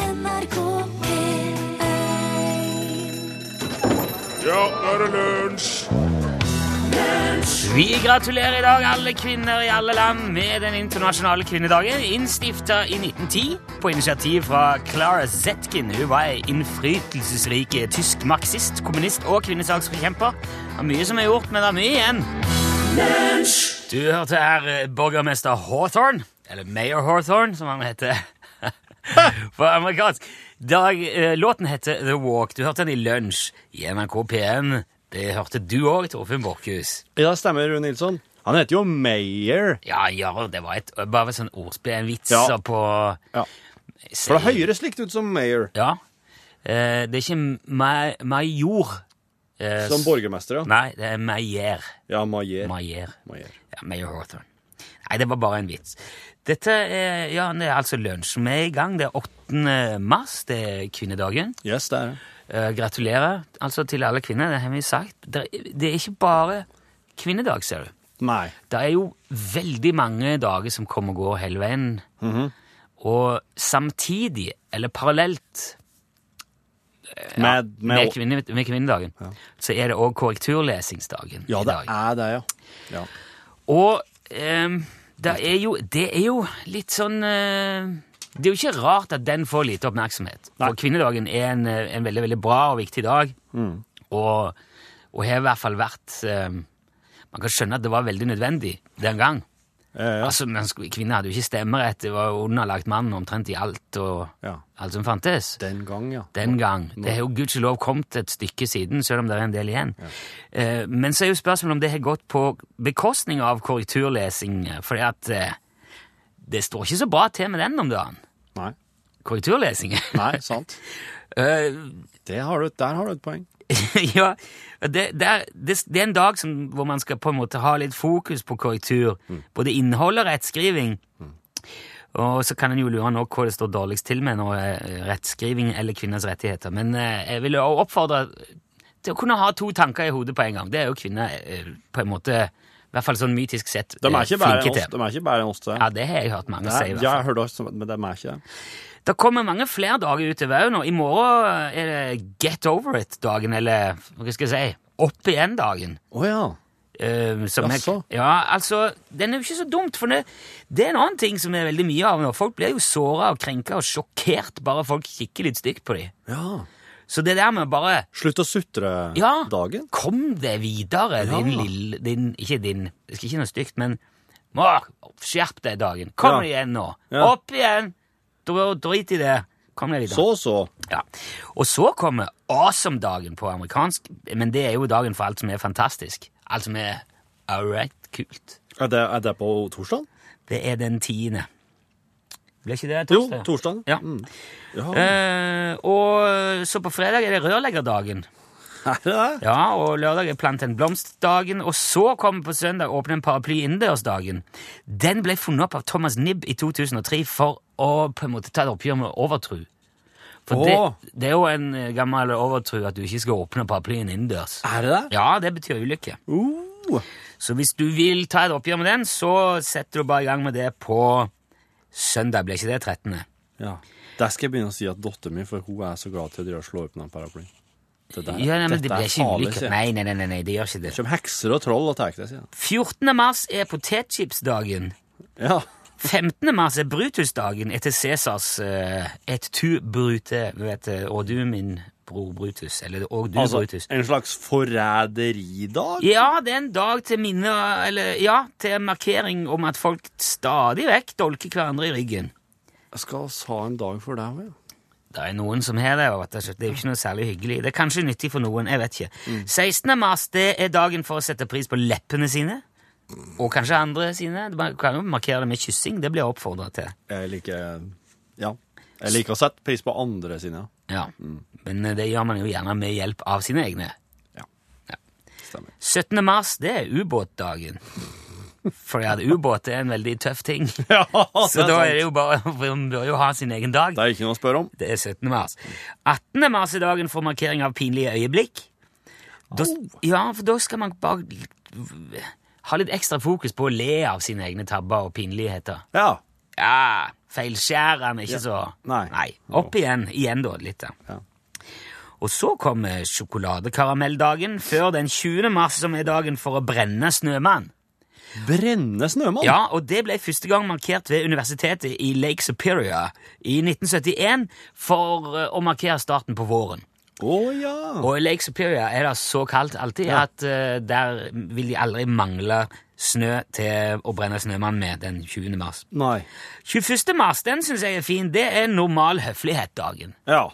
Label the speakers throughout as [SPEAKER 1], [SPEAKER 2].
[SPEAKER 1] NRK P1
[SPEAKER 2] Ja, nå er det lunsj!
[SPEAKER 3] Vi gratulerer i dag alle kvinner i alle land med den internasjonale kvinnedagen, innstifta i 1910 på initiativ fra Clara Zetkin. Hun var ei innflytelsesrik tysk marxist, kommunist og kvinnesaksforkjemper. Det er mye som er gjort, men det er mye igjen. Du hørte her eh, borgermester Hawthorne, eller Mayor Hawthorne, som han heter på amerikansk. Dag, eh, låten heter The Walk. Du hørte den i lunsj i NRK P1. Det hørte du òg, Torfinn Borchhus.
[SPEAKER 4] Ja, stemmer, Rune Nilsson. Han heter jo Mayer.
[SPEAKER 3] Ja, ja, det var et, bare sånn ordspill, en vits
[SPEAKER 4] Ja.
[SPEAKER 3] på
[SPEAKER 4] Ja.
[SPEAKER 3] Se-
[SPEAKER 4] For det høres likt ut som Mayer,
[SPEAKER 3] Ja. Eh, det er ikke ma- major. eh,
[SPEAKER 4] som
[SPEAKER 3] s-
[SPEAKER 4] borgermester. Ja,
[SPEAKER 3] Nei, det er Mayer.
[SPEAKER 4] ja Mayer.
[SPEAKER 3] Mayer.
[SPEAKER 4] Mayer.
[SPEAKER 3] Ja, Mayer Hawthorne. Nei, det var bare en vits. Dette er, ja, det er altså lunsj. Vi er i gang. Det er 8. mars, det er kvinnedagen.
[SPEAKER 4] Yes, det er det.
[SPEAKER 3] Eh, gratulerer altså til alle kvinner, det har vi sagt. Det, det er ikke bare kvinnedag, ser du.
[SPEAKER 4] Nei.
[SPEAKER 3] Det er jo veldig mange dager som kommer og går hele veien.
[SPEAKER 4] Mhm.
[SPEAKER 3] Og samtidig, eller parallelt
[SPEAKER 4] Med,
[SPEAKER 3] med,
[SPEAKER 4] med,
[SPEAKER 3] kvinne, med kvinnedagen, så er det òg korrekturlesingsdagen
[SPEAKER 4] ja,
[SPEAKER 3] i
[SPEAKER 4] det
[SPEAKER 3] dag.
[SPEAKER 4] er det, ja. ja.
[SPEAKER 3] Og ehm, det, er jo, det er jo litt sånn eh, Det er jo ikke rart at den får lite oppmerksomhet. For kvinnedagen er en, eh, en veldig, veldig bra og viktig dag.
[SPEAKER 4] Mm.
[SPEAKER 3] Og, og har i hvert fall vært ehm, Man kan skjønne at det var veldig nødvendig den gang.
[SPEAKER 4] Eh, ja.
[SPEAKER 3] Altså, men sk- Kvinner hadde jo ikke stemmerett, det var jo underlagt mannen omtrent i alt og
[SPEAKER 4] Ja.
[SPEAKER 3] alt som fantes.
[SPEAKER 4] Den gang, ja.
[SPEAKER 3] Den gang. Det har jo gudskjelov kommet et stykke siden, selv om det er en del igjen. Eh, men så er jo spørsmålet om det har gått på bekostning av korrekturlesing, fordi at eh, det står ikke så bra til med den om dagen.
[SPEAKER 4] Nei.
[SPEAKER 3] Korrekturlesing.
[SPEAKER 4] Nei, sant.
[SPEAKER 3] Eh,
[SPEAKER 4] Det har du, der har du et poeng.
[SPEAKER 3] ja, det, det, er, det, det er en dag som, hvor man skal på en måte ha litt fokus på korrektur.
[SPEAKER 4] Mm.
[SPEAKER 3] Både innhold og rettskriving. Og så kan en jo lure nå hva det står dårligst til med når eh, rettskriving eller kvinners rettigheter. Men eh, jeg vil jo oppfordre til å kunne ha to tanker i hodet på en gang. Det er jo kvinner eh, på en måte, i hvert fall sånn mytisk sett, eh,
[SPEAKER 4] De er ikke bedre
[SPEAKER 3] flinke
[SPEAKER 4] enn oss,
[SPEAKER 3] til.
[SPEAKER 4] de er ikke bedre enn oss, det.
[SPEAKER 3] Ja, det har jeg hørt mange
[SPEAKER 4] Det
[SPEAKER 3] si. i
[SPEAKER 4] er-
[SPEAKER 3] hvert
[SPEAKER 4] Ja,
[SPEAKER 3] fall.
[SPEAKER 4] jeg hørte også, men de er ikke det.
[SPEAKER 3] Det kommer mange flere dager utover òg nå. I morgen eh, er det Get Over It-dagen, eller hva skal jeg si, Opp igjen-dagen.
[SPEAKER 4] Å ja.
[SPEAKER 3] Eh, som jeg,
[SPEAKER 4] Jaså?
[SPEAKER 3] ja, altså, den er jo ikke så dumt, for det, det er en annen ting som er veldig mye av nå. Folk blir jo såra og krenka og sjokkert bare folk kikker litt stygt på dem.
[SPEAKER 4] ja.
[SPEAKER 3] Så det der med å bare
[SPEAKER 4] Slutt å sutre
[SPEAKER 3] Ja,
[SPEAKER 4] dagen.
[SPEAKER 3] kom deg videre,
[SPEAKER 4] Ja.
[SPEAKER 3] din lille din, Ikke din, jeg skal ikke noe stygt, men må, skjerp deg dagen. Kom
[SPEAKER 4] Ja.
[SPEAKER 3] deg igjen nå.
[SPEAKER 4] Ja.
[SPEAKER 3] Opp igjen! Dr- Drit i det. Kom deg videre.
[SPEAKER 4] Så, så.
[SPEAKER 3] Ja. Og så kommer awesome-dagen på amerikansk, men det er jo dagen for alt som er fantastisk. Alt som er alright kult.
[SPEAKER 4] Er det, er det på torsdag?
[SPEAKER 3] Det er den tiende. Blir ikke det
[SPEAKER 4] Jo, Mm.
[SPEAKER 3] torsdag?
[SPEAKER 4] torsdag.
[SPEAKER 3] Ja.
[SPEAKER 4] Ja,
[SPEAKER 3] Eh, og så på fredag er det rørleggerdagen.
[SPEAKER 4] er det det?
[SPEAKER 3] Ja, og lørdag er plant en blomst-dagen. Og så kommer på søndag åpne en paraply innendørs-dagen. Den ble funnet opp av Thomas Nibb i 2003 for å på en måte ta et oppgjør med overtro. For
[SPEAKER 4] Åh.
[SPEAKER 3] det, det er jo en eh, gammel overtro at du ikke skal åpne paraplyen innendørs.
[SPEAKER 4] Er det det?
[SPEAKER 3] Ja, det betyr ulykke.
[SPEAKER 4] Uh.
[SPEAKER 3] Så hvis du vil ta et oppgjør med den, så setter du bare i gang med det på søndag. Blir ikke det 13.?
[SPEAKER 4] Ja. Der skal jeg begynne å si at datteren min, for hun er så glad til å drive og slå opp den paraplyen. Det der-
[SPEAKER 3] Ja, nei, men
[SPEAKER 4] dette
[SPEAKER 3] det blir
[SPEAKER 4] er
[SPEAKER 3] ikke
[SPEAKER 4] farlig,
[SPEAKER 3] ulykke.
[SPEAKER 4] sier jeg.
[SPEAKER 3] Nei, nei, nei, nei, nei, det gjør ikke det.
[SPEAKER 4] Kjem hekser og troll og tar det, sier jeg.
[SPEAKER 3] 14. mars er potetchipsdagen.
[SPEAKER 4] Ja.
[SPEAKER 3] 15. mars er Brutusdagen etter Cæsars eh, Et tu brute, vet du, og du min bror Brutus. Eller og du,
[SPEAKER 4] Altså,
[SPEAKER 3] Brutus.
[SPEAKER 4] en slags forræderidag?
[SPEAKER 3] Ja, det er en dag til minne Eller ja, til markering om at folk stadig vekk dolker hverandre i ryggen.
[SPEAKER 4] Jeg skal oss ha en dag for deg òg, ja.
[SPEAKER 3] Det er noen som har det, og at det er- det er jo ikke noe særlig hyggelig. Det er kanskje nyttig for noen, jeg vet ikke.
[SPEAKER 4] Mm.
[SPEAKER 3] 16. mars det er dagen for å sette pris på leppene sine, og kanskje andre sine. Man kan jo markere det med kyssing, det blir jeg oppfordret til.
[SPEAKER 4] Jeg liker Ja. Jeg liker å sette pris på andre sine,
[SPEAKER 3] Ja.
[SPEAKER 4] ja. Mm.
[SPEAKER 3] Men eh, det gjør man jo gjerne med hjelp av sine egne.
[SPEAKER 4] Stemmer.
[SPEAKER 3] 17. mars det er ubåtdagen. For ja, ubåt er en veldig tøff ting.
[SPEAKER 4] Ja, det
[SPEAKER 3] Så da er det
[SPEAKER 4] sant.
[SPEAKER 3] jo bare, for man bør jo ha sin egen dag.
[SPEAKER 4] Det er ikke noe å spørre om.
[SPEAKER 3] Det er 17. mars. 18. mars er dagen for markering av pinlige øyeblikk. Da, ja, for da skal man bare ha litt ekstra fokus på å le av sine egne tabber og pinligheter.
[SPEAKER 4] Ja.
[SPEAKER 3] Ja. Feilskjærende, ikke så
[SPEAKER 4] Nei.
[SPEAKER 3] Opp igjen. Igjen, da. Litt, da.
[SPEAKER 4] Ja.
[SPEAKER 3] Og så kom eh, sjokoladekaramelldagen før den 20. mars, som er dagen for å brenne snømann.
[SPEAKER 4] Brenne snømann?
[SPEAKER 3] Ja, og det ble første gang markert ved universitetet i Lake Superior i 1971 for eh, å markere starten på våren.
[SPEAKER 4] Å ja.
[SPEAKER 3] Og i Lake Superior er det så kaldt alltid
[SPEAKER 4] Ja.
[SPEAKER 3] at eh, der vil de aldri mangle snø til å brenne snømann med den 20. mars.
[SPEAKER 4] Nei.
[SPEAKER 3] 21. mars, den syns jeg er fin. Det er normal høflighet-dagen.
[SPEAKER 4] Ja.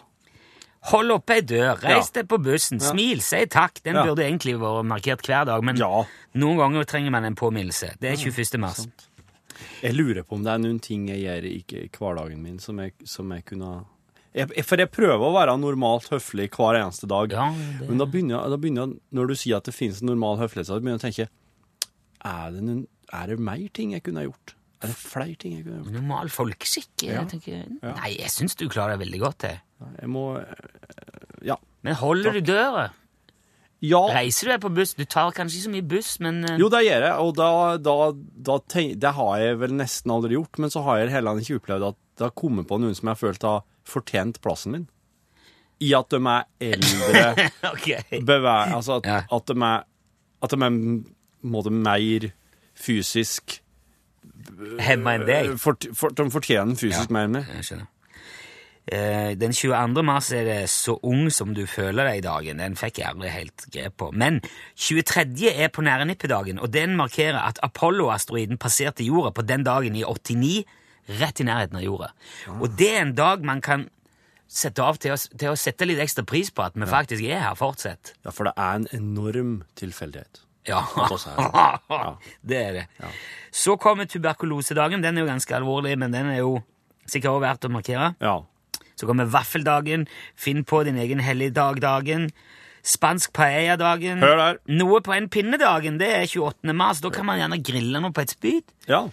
[SPEAKER 3] Hold opp ei dør, reis
[SPEAKER 4] Ja.
[SPEAKER 3] deg på bussen, smil, si takk. Den
[SPEAKER 4] Ja.
[SPEAKER 3] burde egentlig vært markert hver dag, men
[SPEAKER 4] Ja.
[SPEAKER 3] noen ganger trenger man en påminnelse. Det er 21. mars.
[SPEAKER 4] Jeg lurer på om det er noen ting jeg gjør i i hverdagen min som jeg, som jeg kunne jeg, jeg- For jeg prøver å være normalt høflig hver eneste dag.
[SPEAKER 3] Ja, det-
[SPEAKER 4] Men da begynner, jeg- da begynner jeg, når du sier at det finnes en normal høflighet, så begynner jeg å tenke er det, noen, er det mer ting jeg kunne ha gjort? Er det flere ting jeg kunne ha gjort?
[SPEAKER 3] Normal folkeskikk.
[SPEAKER 4] Ja.
[SPEAKER 3] Jeg tenker, nei, jeg syns du klarer deg veldig godt. Jeg.
[SPEAKER 4] Jeg må Ja.
[SPEAKER 3] Men holder du døra?
[SPEAKER 4] ja.
[SPEAKER 3] Reiser du deg på buss? Du tar kanskje ikke så mye buss, men eh,
[SPEAKER 4] Jo, det gjør jeg, og da, da, da tenk, det har jeg vel nesten aldri gjort. Men så har jeg heller ikke opplevd at det har kommet på noen som jeg har følt har fortjent plassen min. I at de er eldre
[SPEAKER 3] ok.
[SPEAKER 4] bevæ- Altså at,
[SPEAKER 3] Ja.
[SPEAKER 4] at de er At de er m- måte mer fysisk
[SPEAKER 3] Hemma enn deg.
[SPEAKER 4] eh, fort- for, De fortjener fysisk mer enn meg.
[SPEAKER 3] Jeg skjønner. Eh, Den 22. mars er det så ung som du føler deg i dagen. Den fikk jeg aldri helt grep på. Men 23. er på nære nippedagen, og den markerer at Apollo-asteroiden passerte jorda på den dagen i 89, rett i nærheten av jorda. Og det er en dag man kan sette av til å, til å sette litt ekstra pris på at vi faktisk er her fortsatt.
[SPEAKER 4] Ja, for det er en enorm tilfeldighet.
[SPEAKER 3] Ja,
[SPEAKER 4] oss her.
[SPEAKER 3] det er det. Så kommer tuberkulosedagen. Den er jo ganske alvorlig, men den er jo sikkert også verdt å markere.
[SPEAKER 4] Ja.
[SPEAKER 3] Så kommer vaffeldagen, finn på din egen helligdag-dagen, spansk paella-dagen
[SPEAKER 4] Hør der.
[SPEAKER 3] Noe på en pinne-dagen, det er 28. mars. Da kan man gjerne grille noe på et spyd.
[SPEAKER 4] Ja.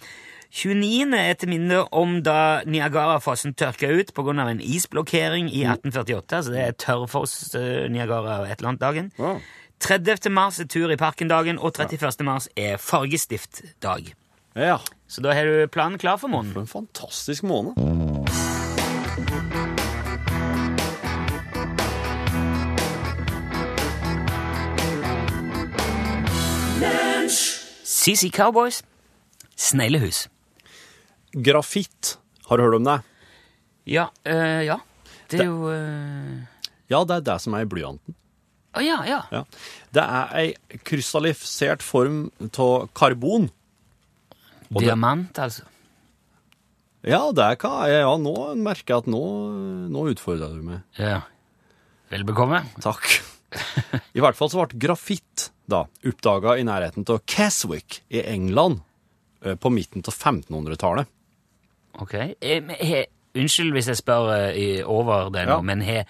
[SPEAKER 3] 29. er til minne om da Niagarafossen tørka ut pga. en isblokkering
[SPEAKER 4] Mm.
[SPEAKER 3] i 1848. Så det er eh, Tørrfoss-Niagara-et-eller-annet-dagen.
[SPEAKER 4] Ja.
[SPEAKER 3] 30. mars er tur i parken-dagen, og 31. mars er fargestift-dag.
[SPEAKER 4] ja.
[SPEAKER 3] Så da har du planen klar for måneden.
[SPEAKER 4] For en fantastisk måned.
[SPEAKER 3] CC Cowboys, sneglehus.
[SPEAKER 4] Grafitt. Har du hørt om det?
[SPEAKER 3] Ja. eh, ja. Det er jo eh,
[SPEAKER 4] Ja, det er det som er i blyanten.
[SPEAKER 3] Å ja, ja.
[SPEAKER 4] Ja. Det er ei krystallisert form av karbon. Og det-
[SPEAKER 3] Diamant, altså.
[SPEAKER 4] Ja, det er hva Ja, nå merker jeg at nå, nå utfordrer du meg.
[SPEAKER 3] Ja. Vel bekomme.
[SPEAKER 4] Takk. I hvert fall så ble grafitt da oppdaga i nærheten av Keswick i England eh, på midten av 1500-tallet.
[SPEAKER 3] Ok. Eh, men he, unnskyld hvis jeg spør eh, i, over det nå,
[SPEAKER 4] Ja.
[SPEAKER 3] men he,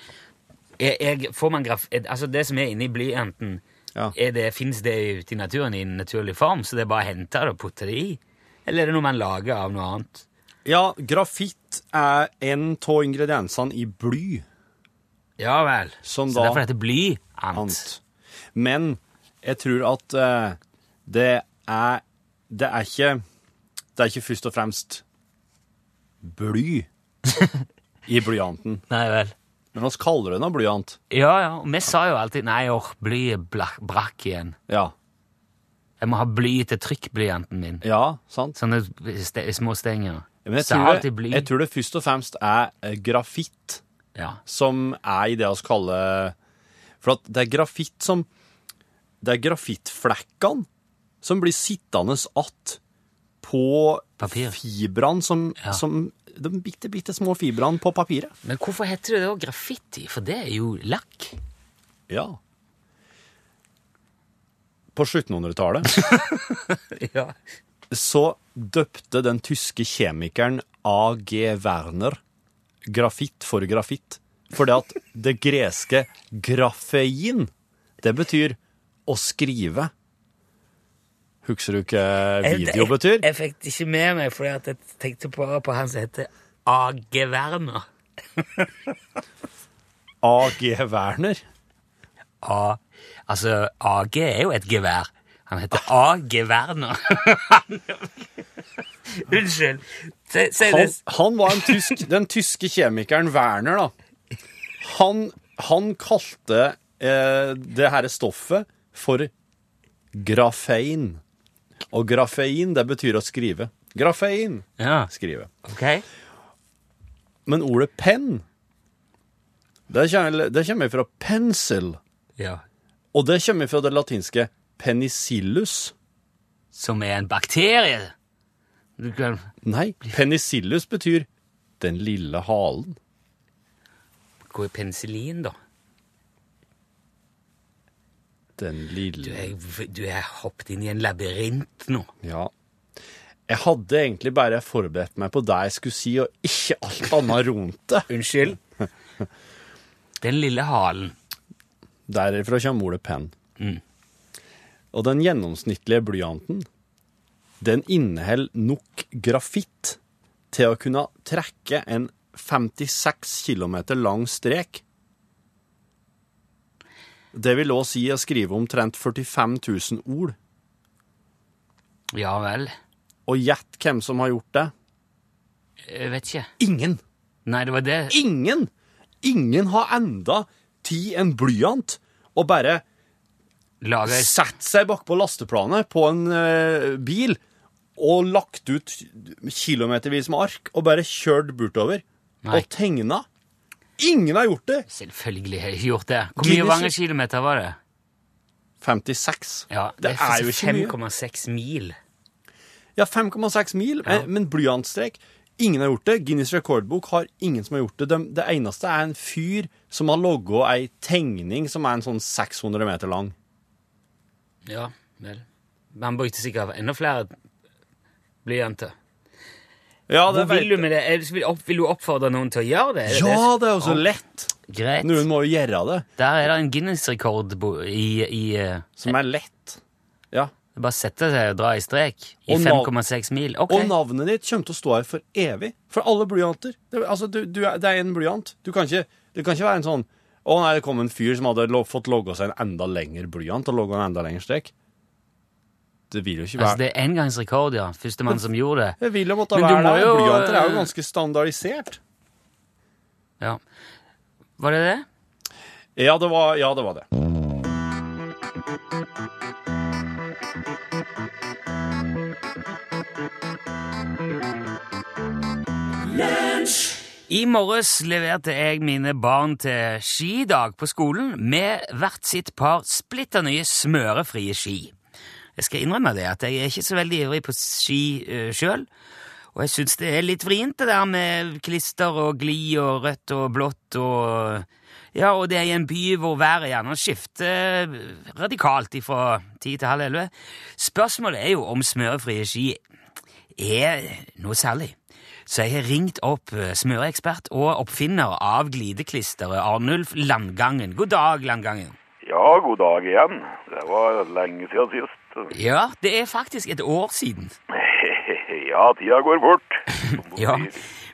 [SPEAKER 3] er, er, får man graf... er- Altså, det som er inni blyanten,
[SPEAKER 4] Ja.
[SPEAKER 3] er det, fins det ute i naturen i en naturlig form, så det er bare å hente det og putte det i? Eller er det noe man lager av noe annet?
[SPEAKER 4] Ja, grafitt er en av ingrediensene i bly.
[SPEAKER 3] Ja vel.
[SPEAKER 4] Som
[SPEAKER 3] så
[SPEAKER 4] da-
[SPEAKER 3] derfor heter blyant.
[SPEAKER 4] Ant. Men jeg tror at eh, det er Det er ikke Det er ikke først og fremst bly i blyanten.
[SPEAKER 3] Nei vel.
[SPEAKER 4] Men vi kaller det nå blyant.
[SPEAKER 3] Ja, ja. og Vi sa jo alltid 'nei, åh, blyet blak- brakk igjen'.
[SPEAKER 4] Ja.
[SPEAKER 3] Jeg må ha bly til trykkblyanten min.
[SPEAKER 4] ja, sant?
[SPEAKER 3] Sånne ste små stenger.
[SPEAKER 4] Men jeg
[SPEAKER 3] Så
[SPEAKER 4] tror,
[SPEAKER 3] alltid
[SPEAKER 4] det,
[SPEAKER 3] bly.
[SPEAKER 4] jeg tror det først og fremst er eh, grafitt
[SPEAKER 3] Ja.
[SPEAKER 4] som er i det vi kaller For at det er grafitt som Det er grafittflekkene som blir sittende att på
[SPEAKER 3] Papir.
[SPEAKER 4] fibrene som,
[SPEAKER 3] Ja.
[SPEAKER 4] som De bitte, bitte små fibrene på papiret.
[SPEAKER 3] Men hvorfor heter det da graffiti? For det er jo lakk.
[SPEAKER 4] Ja. På 1700-tallet
[SPEAKER 3] Ja.
[SPEAKER 4] så døpte den tyske kjemikeren A.G. Werner grafitt for grafitt. Fordi at det greske grafein, det betyr å skrive. Husker du ikke video betyr?
[SPEAKER 3] Jeg fikk det ikke med meg, for jeg tenkte bare på han som heter AG Werner.
[SPEAKER 4] A.G. Werner.
[SPEAKER 3] A, altså, AG er jo et gevær. Han heter A.G. Werner. Han- Unnskyld. Se, se
[SPEAKER 4] Han,
[SPEAKER 3] det.
[SPEAKER 4] han var en tysk, den tyske kjemikeren Werner, da. Han, han kalte eh, det herre stoffet for grafein. Og grafein, det betyr å skrive. Grafein.
[SPEAKER 3] Ja,
[SPEAKER 4] Skrive.
[SPEAKER 3] ok.
[SPEAKER 4] Men ordet penn, det kommer, det kommer fra pensel.
[SPEAKER 3] Ja.
[SPEAKER 4] Og det kommer fra det latinske penicillus.
[SPEAKER 3] Som er en bakterie. Du kan...
[SPEAKER 4] Nei, penicillus betyr den lille halen.
[SPEAKER 3] Hvor er penicillin, da?
[SPEAKER 4] Den
[SPEAKER 3] Du
[SPEAKER 4] lille
[SPEAKER 3] er, du er hoppet inn i en labyrint nå.
[SPEAKER 4] Ja. Jeg hadde egentlig bare forberedt meg på det jeg skulle si, og ikke alt annet rundt det.
[SPEAKER 3] Unnskyld. Den lille halen.
[SPEAKER 4] Derifra kommer ordet penn. Og den gjennomsnittlige blyanten, den inneholder nok grafitt til å kunne trekke en 56 km lang strek. Det vil òg si å skrive omtrent 45 000 ord.
[SPEAKER 3] Ja vel.
[SPEAKER 4] Og gjett hvem som har gjort det?
[SPEAKER 3] Jeg vet ikke.
[SPEAKER 4] Ingen!
[SPEAKER 3] Nei, det var det.
[SPEAKER 4] Ingen! Ingen har enda tid en blyant og bare
[SPEAKER 3] Laga i
[SPEAKER 4] satt seg bakpå lasteplanet på en eh, bil og lagt ut kilometervis med ark og bare kjørt bortover
[SPEAKER 3] Nei.
[SPEAKER 4] og tegna. Ingen har gjort det!
[SPEAKER 3] Selvfølgelig har jeg ikke gjort det. Hvor mye
[SPEAKER 4] Guinness-
[SPEAKER 3] Vanger-kilometer var det?
[SPEAKER 4] 56.
[SPEAKER 3] Ja,
[SPEAKER 4] det, er jo ikke mye.
[SPEAKER 3] 5,6 mil.
[SPEAKER 4] Ja, 5,6 mil, men, men blyantstrek Ingen har gjort det. Guinness rekordbok har ingen som har gjort det. De, det eneste er en fyr som har logga ei tegning som er en sånn 600 meter lang.
[SPEAKER 3] Ja, vel. Men han brukte sikkert enda flere blyanter.
[SPEAKER 4] Ja,
[SPEAKER 3] Hvor vil du med det? Er, vil, opp, vil du oppfordre noen til å gjøre det? Er det
[SPEAKER 4] Ja,
[SPEAKER 3] det?
[SPEAKER 4] det er jo så lett.
[SPEAKER 3] Greit.
[SPEAKER 4] Noen må jo gjøre det,
[SPEAKER 3] Der er det en Guinness-rekord bo- i, i eh,
[SPEAKER 4] som er lett. Ja.
[SPEAKER 3] Bare sette seg og dra i strek i
[SPEAKER 4] Og nav-
[SPEAKER 3] 5,6 mil. Ok.
[SPEAKER 4] Og navnet ditt kommer til å stå her for evig. For alle blyanter. Det, altså, du, du, er- det er en blyant. Du kan ikke, det kan ikke være en sånn Å nei, det kom en fyr som hadde lo, fått logga seg en enda lengre blyant og logga en enda lengre strek. Det vil jo ikke være
[SPEAKER 3] Altså, det er engangsrekord, ja. Førstemann som gjorde det.
[SPEAKER 4] Det vil jo måtte
[SPEAKER 3] Men du
[SPEAKER 4] være
[SPEAKER 3] må
[SPEAKER 4] det.
[SPEAKER 3] jo-
[SPEAKER 4] Blyanter er jo ganske standardisert.
[SPEAKER 3] Ja. Var det det?
[SPEAKER 4] Ja, det var, ja, det, var det.
[SPEAKER 3] I morges leverte jeg mine barn til skidag på skolen med hvert sitt par splitter nye smørefrie ski. Jeg skal innrømme det at jeg er ikke så veldig ivrig på ski uh, sjøl, og jeg syns det er litt vrient det der med klister og gli og rødt og blått og Ja, og det er i en by hvor været gjerne skifter radikalt ifra ti til halv elleve. Spørsmålet er jo om smørefrie ski er noe særlig. Så jeg har ringt opp eh, smøreekspert og oppfinner av glideklisteret Arnulf Landgangen. God dag, Landgangen.
[SPEAKER 1] Ja, god dag igjen. Det var lenge siden sist.
[SPEAKER 3] Ja, det er faktisk et år siden.
[SPEAKER 1] Ja, tida går fort.
[SPEAKER 3] Ja.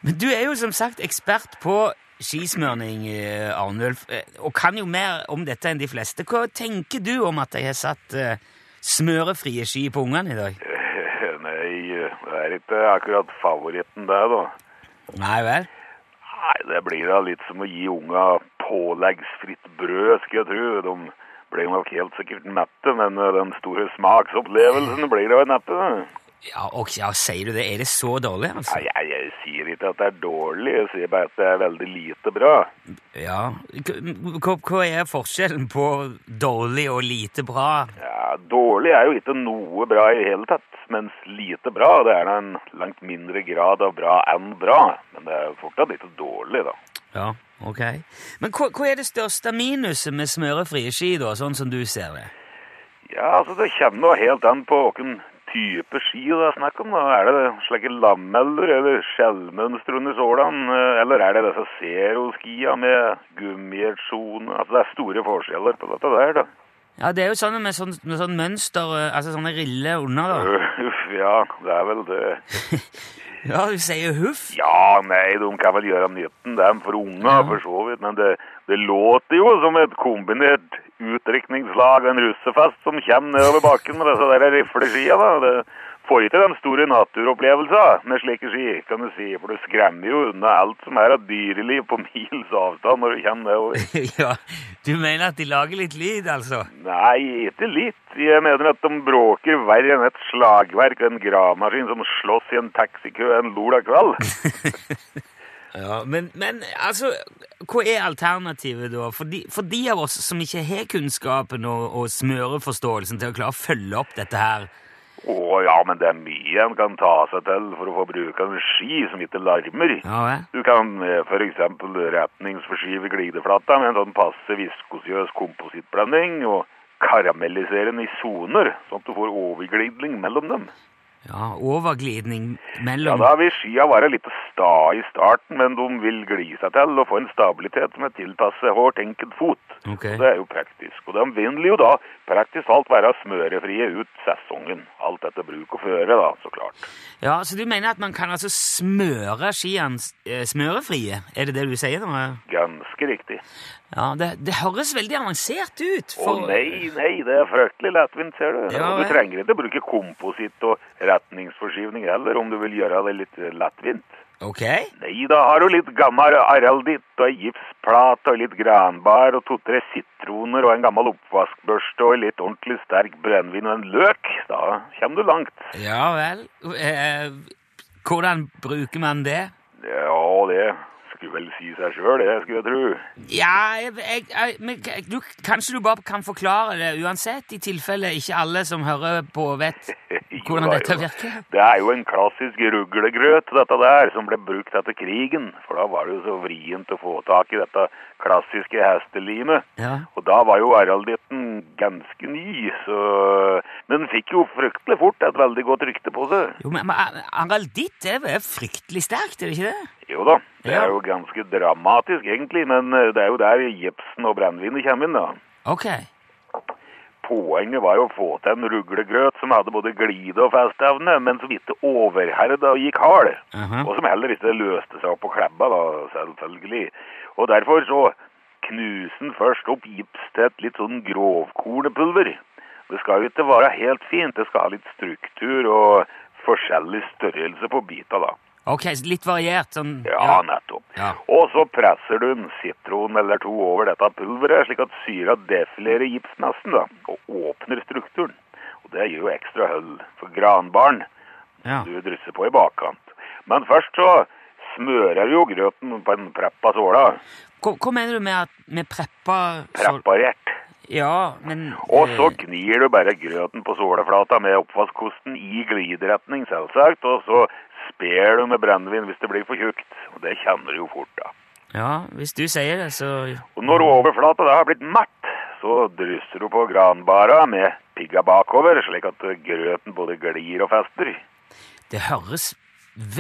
[SPEAKER 3] Men du er jo som sagt ekspert på skismørning, eh, Arnulf, eh, og kan jo mer om dette enn de fleste. Hva tenker du om at jeg har satt eh, smørefrie ski på ungene i dag?
[SPEAKER 1] Nei, det er ikke akkurat favoritten det, da.
[SPEAKER 3] Nei vel?
[SPEAKER 1] Nei, det blir da litt som å gi unga påleggsfritt brød, skal jeg tro. De blir nok helt sikkert mette, men eh, den store smaksopplevelsen blir det jo neppe. da.
[SPEAKER 3] Ja, og, ja, sier du det? Er det så dårlig, altså?
[SPEAKER 1] Nei, jeg, jeg sier ikke at det er dårlig, jeg sier bare at det er veldig lite bra.
[SPEAKER 3] Ja. Hva, hva- hva er forskjellen på dårlig og lite bra?
[SPEAKER 1] Ja, dårlig er jo ikke noe bra i det hele tatt, mens lite bra, det er da en langt mindre grad av bra enn bra. Men det er fortsatt ikke dårlig, da.
[SPEAKER 3] Ja, ok. Men hva, hva er det største minuset med smørefrie ski, da, sånn som du ser det?
[SPEAKER 1] Ja, altså det kommer jo helt an på hvilken type ski det er snakk om. da. Er det slike lameller eller skjellmønster under sålen, eh, eller er det disse seroskia med gummiertsjon? Altså det er store forskjeller på dette der, da.
[SPEAKER 3] Ja, det er jo sånne med sånn, med sånn mønster, eh, altså sånne riller under, da.
[SPEAKER 1] Uff, ja, det er vel det.
[SPEAKER 3] Ja, du sier huff.
[SPEAKER 1] Ja, nei, de kan vel gjøre nytten, dem, for unga, for så vidt. Men det, det låter jo som et kombinert utdrikningslag og en russefest som kommer nedover bakken med disse der rifleskia, da. Det får ikke den store naturopplevelsen med slike ski, kan du si. For du skremmer jo unna alt som er av dyreliv på mils avstand når du kommer nedover.
[SPEAKER 3] ja, du mener at de lager litt lyd, altså?
[SPEAKER 1] Nei, ikke litt. Jeg mener at de bråker verre enn et slagverk og en gravemaskin som slåss i en taxikø en lola kveld.
[SPEAKER 3] Ja, men, men altså, hva er alternativet da? For de, for de av oss som ikke har kunnskapen og, og smøreforståelsen til å klare å følge opp dette her
[SPEAKER 1] Å ja, men det er mye en kan ta seg til for å få bruke en ski som ikke larmer.
[SPEAKER 3] Ja, hva?
[SPEAKER 1] Du kan eh, for eksempel retningsforskyve glideflata med en sånn passe viskosiøs komposittblanding, og karamellisere den i soner, sånn at du får overglidning mellom dem.
[SPEAKER 3] ja, overglidning
[SPEAKER 1] Ja,
[SPEAKER 3] mellom
[SPEAKER 1] da vil skia være litt sta i starten, men de vil gli seg til og få en stabilitet som er tilpasset hvert enkelt fot.
[SPEAKER 3] Ok.
[SPEAKER 1] Og Det er jo praktisk. Og de vil jo da praktisk talt være smørefrie ut sesongen. Alt etter bruk og føre, da, så klart.
[SPEAKER 3] Ja, Så du mener at man kan altså smøre skiene s- eh, smørefrie? Er det det du sier nå?
[SPEAKER 1] Ganske riktig.
[SPEAKER 3] Ja, det, det høres veldig avansert ut.
[SPEAKER 1] Å nei, nei, det er fryktelig lettvint, ser du.
[SPEAKER 3] Ja,
[SPEAKER 1] du
[SPEAKER 3] vel.
[SPEAKER 1] trenger ikke bruke kompositt og retningsforskyvning heller, om du vil gjøre det litt lettvint.
[SPEAKER 3] Ok.
[SPEAKER 1] Nei, da har du litt gammel aralditt og ei gipsplate og litt granbar og to-tre sitroner og en gammel oppvaskbørste og litt ordentlig sterk brennevin og en løk. Da kommer du langt.
[SPEAKER 3] Ja vel. Eh, hvordan bruker man det?
[SPEAKER 1] Ja, det skulle vel si seg sjøl, det skulle jeg tro.
[SPEAKER 3] Ja, jeg, jeg, jeg, men k- du, kanskje du bare kan forklare det uansett, i tilfelle ikke alle som hører på vet hvordan
[SPEAKER 1] Jo da, jo
[SPEAKER 3] dette
[SPEAKER 1] da.
[SPEAKER 3] virker?
[SPEAKER 1] Det er jo en klassisk ruglegrøt, dette der, som ble brukt etter krigen. For da var det jo så vrient å få tak i dette klassiske hestelimet.
[SPEAKER 3] Ja.
[SPEAKER 1] Og da var jo aralditten ganske ny, så Men den fikk jo fryktelig fort et veldig godt rykte på seg.
[SPEAKER 3] Jo, men, men a- aralditt er vel fryktelig sterkt, er det ikke det?
[SPEAKER 1] Jo da, det
[SPEAKER 3] Ja.
[SPEAKER 1] er jo ganske dramatisk egentlig, men eh, det er jo der gipsen og brennevinet kommer inn, da.
[SPEAKER 3] Ok.
[SPEAKER 1] Poenget var jo å få til en ruglegrøt som hadde både glide og festevne, men som ikke overherda og gikk hard.
[SPEAKER 3] Aha.
[SPEAKER 1] Og som heller ikke løste seg opp på klebba, da, selvfølgelig. Og derfor så knuste han først opp gips til et litt sånn grovkornepulver. Det skal jo ikke være helt fint, det skal ha litt struktur og forskjellig størrelse på bita, da.
[SPEAKER 3] Ok, så litt variert sånn
[SPEAKER 1] Ja, nettopp.
[SPEAKER 3] Ja.
[SPEAKER 1] Og så presser du en sitron eller to over dette pulveret, slik at syra defilerer gipsmassen da, og åpner strukturen. Og det gir jo ekstra høll for granbarn
[SPEAKER 3] ja.
[SPEAKER 1] du drysser på i bakkant. Men først så smører du jo grøten på en preppa såla,
[SPEAKER 3] Hva, hva mener du med at vi prepper så-
[SPEAKER 1] preparert.
[SPEAKER 3] Ja, men
[SPEAKER 1] Og så
[SPEAKER 3] eh,
[SPEAKER 1] gnir du bare grøten på såleflata med oppvaskkosten i glideretning, selvsagt, og så sper du med brennevin hvis det blir for tjukt. Og det kjenner du jo fort da.
[SPEAKER 3] eh, Ja, hvis du sier det, så
[SPEAKER 1] Og når overflata da har blitt matt, så drysser du på granbara med pigga bakover, slik at grøten både glir og fester.
[SPEAKER 3] Det høres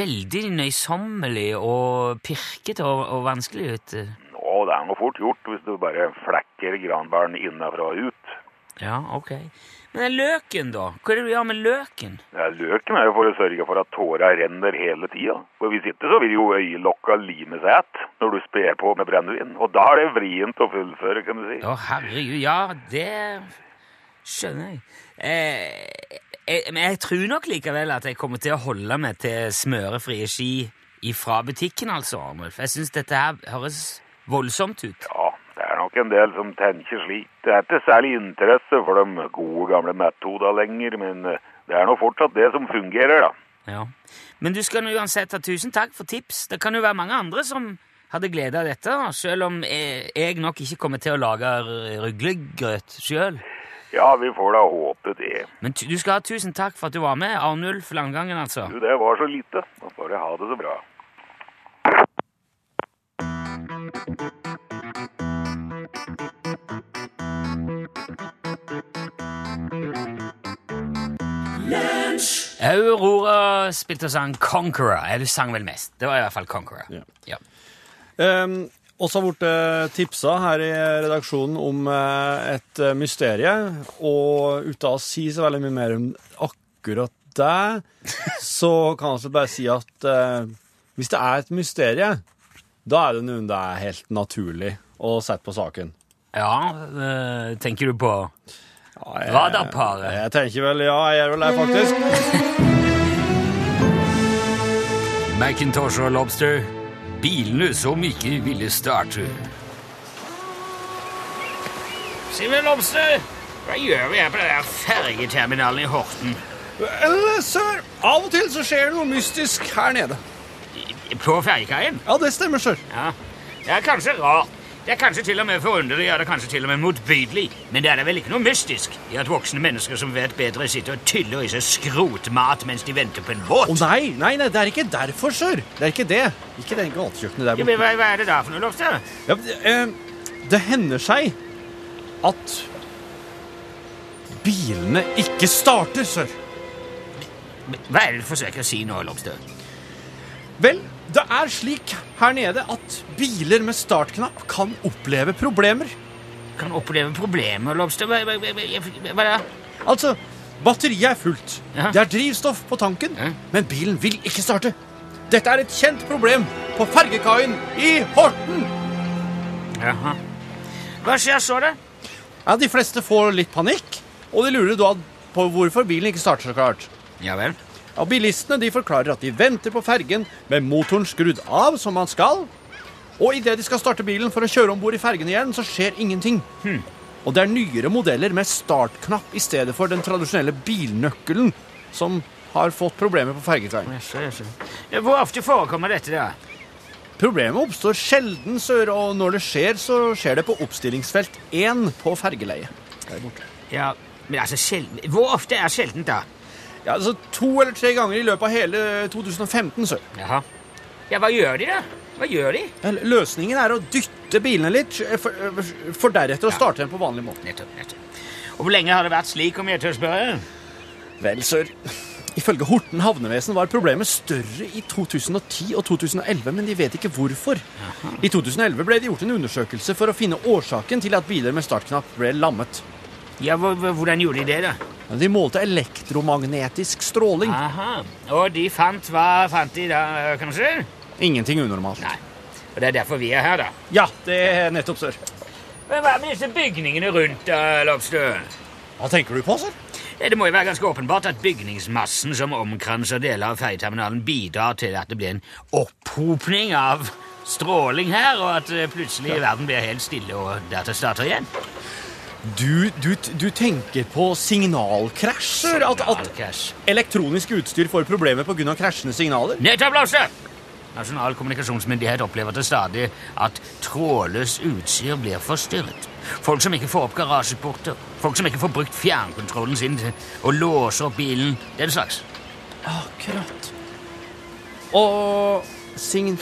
[SPEAKER 3] veldig nøysommelig og pirkete og, og vanskelig ut.
[SPEAKER 1] Og det er noe fort gjort hvis du bare flekker granbaren innenfra og ut.
[SPEAKER 3] Ja, ok. Men den løken, da? Hva er det du gjør med løken?
[SPEAKER 1] Ja, løken er jo for å sørge for at tåra renner hele tida. For hvis ikke så vil jo øyelokka lime seg att når du sper på med brennevin. Og da er det vrient å fullføre, kan du si.
[SPEAKER 3] Å, herregud, ja, det skjønner jeg. Eh, jeg. Men jeg tror nok likevel at jeg kommer til å holde meg til smørefrie ski ifra butikken, altså, Arnulf. Jeg syns dette her høres voldsomt ut.
[SPEAKER 1] Ja, det er nok en del som tenker slik. Det er ikke særlig interesse for de gode gamle metodene lenger, men eh, det er nå fortsatt det som fungerer, da.
[SPEAKER 3] Ja. Men du skal nå uansett ha tusen takk for tips. Det kan jo være mange andre som hadde glede av dette, da, selv om jeg, jeg nok ikke kommer til å lage r- ruglegrøt sjøl.
[SPEAKER 1] Ja, vi får da håpe det.
[SPEAKER 3] Men tu- du skal ha tusen takk for at du var med, Arnulf Langangen, altså.
[SPEAKER 1] Du, det var så lite. Da får du ha det så bra.
[SPEAKER 3] Aurora spilte og sang Conqueror. Ja, du sang vel mest. Det var i hvert fall Conqueror.
[SPEAKER 4] Ja.
[SPEAKER 3] Ja.
[SPEAKER 4] Um, også har blitt eh, tipsa her i redaksjonen om eh, et eh, mysterie, og uten å si så veldig mye mer om akkurat det, så kan jeg altså bare si at eh, hvis det er et mysterium, da er det noen det er helt naturlig å sette på saken.
[SPEAKER 3] Ja, eh, tenker du på
[SPEAKER 4] Ja, jeg-
[SPEAKER 3] radarparet?
[SPEAKER 4] Jeg tenker vel ja, jeg gjør vel det, faktisk.
[SPEAKER 3] Macintosh og Lobster. Bilene som ikke ville starte. Simen Lobster, hva gjør vi her på den der fergeterminalen i Horten?
[SPEAKER 4] sir, av og til så skjer det noe mystisk her nede.
[SPEAKER 3] I- På fergekaien?
[SPEAKER 4] Ja, det stemmer, sir.
[SPEAKER 3] Ja. Det er kanskje rart. Det er kanskje til og med forunderlig, ja, det er kanskje til og med motbydelig. Men det er da vel ikke noe mystisk i at voksne mennesker som vet bedre, sitter og tyller i seg skrotmat mens de venter på en båt?
[SPEAKER 4] Å nei, nei, nei, det er ikke derfor, sir. Det er ikke det. Ikke den gatekjøkkenet der
[SPEAKER 3] Ja,
[SPEAKER 4] borte.
[SPEAKER 3] men hva, hva er det da for noe, Lobster?
[SPEAKER 4] Ja, men, eh, det hender seg at bilene ikke starter, sir.
[SPEAKER 3] Hva er det du forsøker å si nå, Lobster?
[SPEAKER 4] Vel, det er slik her nede at biler med startknapp kan oppleve problemer.
[SPEAKER 3] Kan oppleve problemer, Lobster. Hva, hva, hva, hva, hva da?
[SPEAKER 4] Altså, batteriet er fullt.
[SPEAKER 3] Ja.
[SPEAKER 4] Det er drivstoff på tanken,
[SPEAKER 3] Ja.
[SPEAKER 4] men bilen vil ikke starte. Dette er et kjent problem på fergekaien i Horten.
[SPEAKER 3] Jaha. Hva skjer så, da?
[SPEAKER 4] Ja, de fleste får litt panikk, og de lurer da på hvorfor bilen ikke starter så klart.
[SPEAKER 3] Ja vel.
[SPEAKER 4] Ja, bilistene de forklarer at de venter på fergen med motoren skrudd av som man skal. Og idet de skal starte bilen for å kjøre om bord i fergen igjen, så skjer ingenting. Og det er nyere modeller med startknapp i stedet for den tradisjonelle bilnøkkelen som har fått problemer på fergekaien.
[SPEAKER 3] Hvor ofte forekommer dette, da?
[SPEAKER 4] Problemet oppstår sjelden, sør, og når det skjer, så skjer det på oppstillingsfelt 1 på fergeleiet. Der borte.
[SPEAKER 3] Ja, men altså, sjelden. Hvor ofte er sjeldent, da?
[SPEAKER 4] Ja, altså To eller tre ganger i løpet av hele 2015, sør.
[SPEAKER 3] Jaha. Ja, hva gjør de, da? Hva gjør de?
[SPEAKER 4] Vel, Løsningen er å dytte bilene litt, eh, for, for deretter å starte dem på vanlig måte.
[SPEAKER 3] Nettopp, nettopp. Og Hvor lenge har det vært slik, om jeg tør spørre?
[SPEAKER 4] Vel, sør. Ifølge Horten havnevesen var problemet større i 2010 og 2011, men de vet ikke hvorfor. I 2011 ble det gjort en undersøkelse for å finne årsaken til at biler med startknapp ble lammet.
[SPEAKER 3] Ja, hvor- hvor- Hvordan gjorde de det, da?
[SPEAKER 4] De målte elektromagnetisk stråling.
[SPEAKER 3] Aha. Og de fant Hva fant de da, kanskje?
[SPEAKER 4] Ingenting unormalt.
[SPEAKER 3] Nei. Og Det er derfor vi er her, da.
[SPEAKER 4] Ja, det er nettopp, sør.
[SPEAKER 3] Men Hva med disse bygningene rundt, da, Lobstø?
[SPEAKER 4] Hva tenker du på, sør?
[SPEAKER 3] Ja, Det må jo være ganske åpenbart at bygningsmassen som omkranser deler av fergeterminalen, bidrar til at det blir en opphopning av stråling her, og at eh, plutselig verden blir helt stille og data starter igjen.
[SPEAKER 4] Du, du, du tenker på signalkrasj, sør? At, at
[SPEAKER 3] Alcash.
[SPEAKER 4] elektronisk utstyr får problemer pga. krasjende signaler?
[SPEAKER 3] Nettopp, Lasse! Nasjonal kommunikasjonsmyndighet opplever til stadig at trådløs utstyr blir forstyrret. Folk som ikke får opp garasjeporter, folk som ikke får brukt fjernkontrollen sin til å låse opp bilen, den slags.
[SPEAKER 4] Akkurat. Og sign...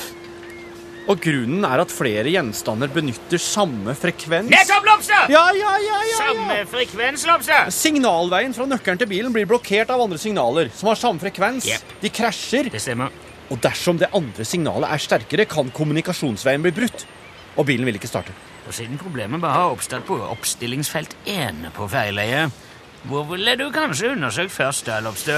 [SPEAKER 4] Og grunnen er at flere gjenstander benytter samme frekvens.
[SPEAKER 3] Nettopp, Lobster!
[SPEAKER 4] Ja, ja, ja, ja, ja.
[SPEAKER 3] Samme frekvens, Lobster!
[SPEAKER 4] Signalveien fra nøkkelen til bilen blir blokkert av andre signaler som har samme frekvens.
[SPEAKER 3] Jep.
[SPEAKER 4] De krasjer,
[SPEAKER 3] Det stemmer.
[SPEAKER 4] og dersom det andre signalet er sterkere, kan kommunikasjonsveien bli brutt. Og bilen vil ikke starte.
[SPEAKER 3] Og siden problemet bare har oppstått på oppstillingsfelt 1 på fergeleiet, hvor ville du kanskje undersøkt først, da, Lobstø?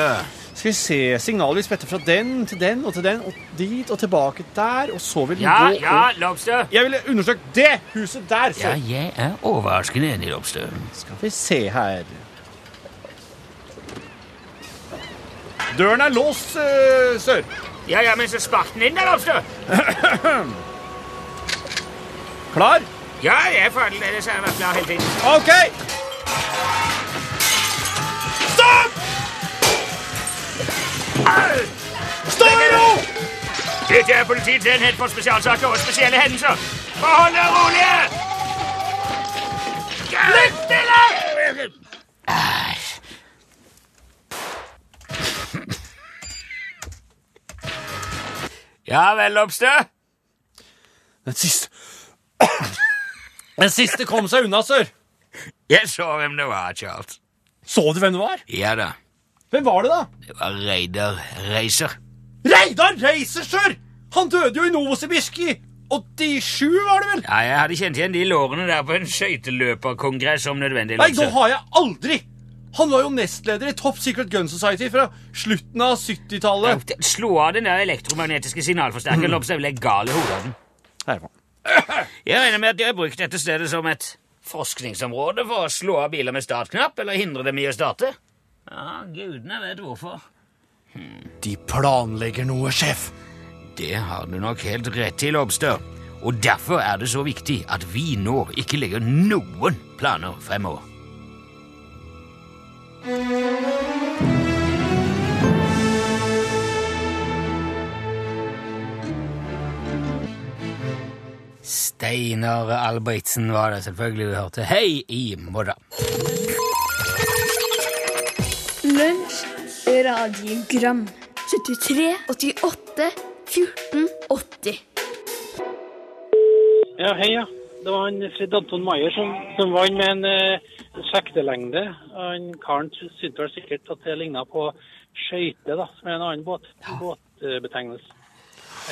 [SPEAKER 4] Skal vi se, signalet vil spette fra den til den og til den og dit og tilbake der, og så vil den
[SPEAKER 3] Ja,
[SPEAKER 4] gå
[SPEAKER 3] ja,
[SPEAKER 4] opp.
[SPEAKER 3] Lobstø!
[SPEAKER 4] Jeg ville undersøkt det huset der! Så.
[SPEAKER 3] Ja, jeg er overraskende enig, Lobstø.
[SPEAKER 4] Skal vi se her Døren er låst, eh, sør.
[SPEAKER 3] Ja, ja, men så spark den inn, da, Lobstø!
[SPEAKER 4] Klar?
[SPEAKER 3] Ja, jeg er ferdig, ellers har jeg vært klar hele tiden.
[SPEAKER 4] OK! Stopp! Stå ro!
[SPEAKER 3] Dette er politiets enhet for spesialsaker og spesielle hendelser. Forhold dere rolige! Lytt stille! Ja vel, Lobstø?
[SPEAKER 4] Den siste Den siste kom seg unna, sør.
[SPEAKER 3] Jeg så hvem det var, Charles.
[SPEAKER 4] Så du hvem det var?
[SPEAKER 3] Ja da,
[SPEAKER 4] Hvem var det, da?
[SPEAKER 3] det var Reidar Reiser.
[SPEAKER 4] Reidar Reiser, sør! Han døde jo i Novosibirsk i 87, var det vel?
[SPEAKER 3] Ja, jeg hadde kjent igjen de lårene der på en skøyteløperkongress om nødvendig.
[SPEAKER 4] Nei,
[SPEAKER 3] Lobster.
[SPEAKER 4] da har jeg aldri Han var jo nestleder i Top Secret Gun Society fra slutten av 70-tallet.
[SPEAKER 3] Slå av den der elektromagnetiske signalforsterkeren og observer legale hodet.
[SPEAKER 4] Her var han.
[SPEAKER 3] Jeg regner med at de har brukt dette stedet som et forskningsområde for å slå av biler med startknapp, eller hindre dem i å starte. Ja, gudene vet hvorfor.
[SPEAKER 4] De planlegger noe, sjef.
[SPEAKER 3] Det har du nok helt rett i, Lobster. Og derfor er det så viktig at vi nå ikke legger noen planer fremover. Steinar Albertsen var det selvfølgelig vi hørte. Hei i morgen.
[SPEAKER 5] Lunsj, radiogram 73, 88, 14, 80
[SPEAKER 6] Ja, hei, ja. Det var han Fred Anton Maier som, som vant med en eh, sektelengde. Han karen syntes vel sikkert at det ligna på skøyte, da, som er en annen båt. Båtbetegnelse.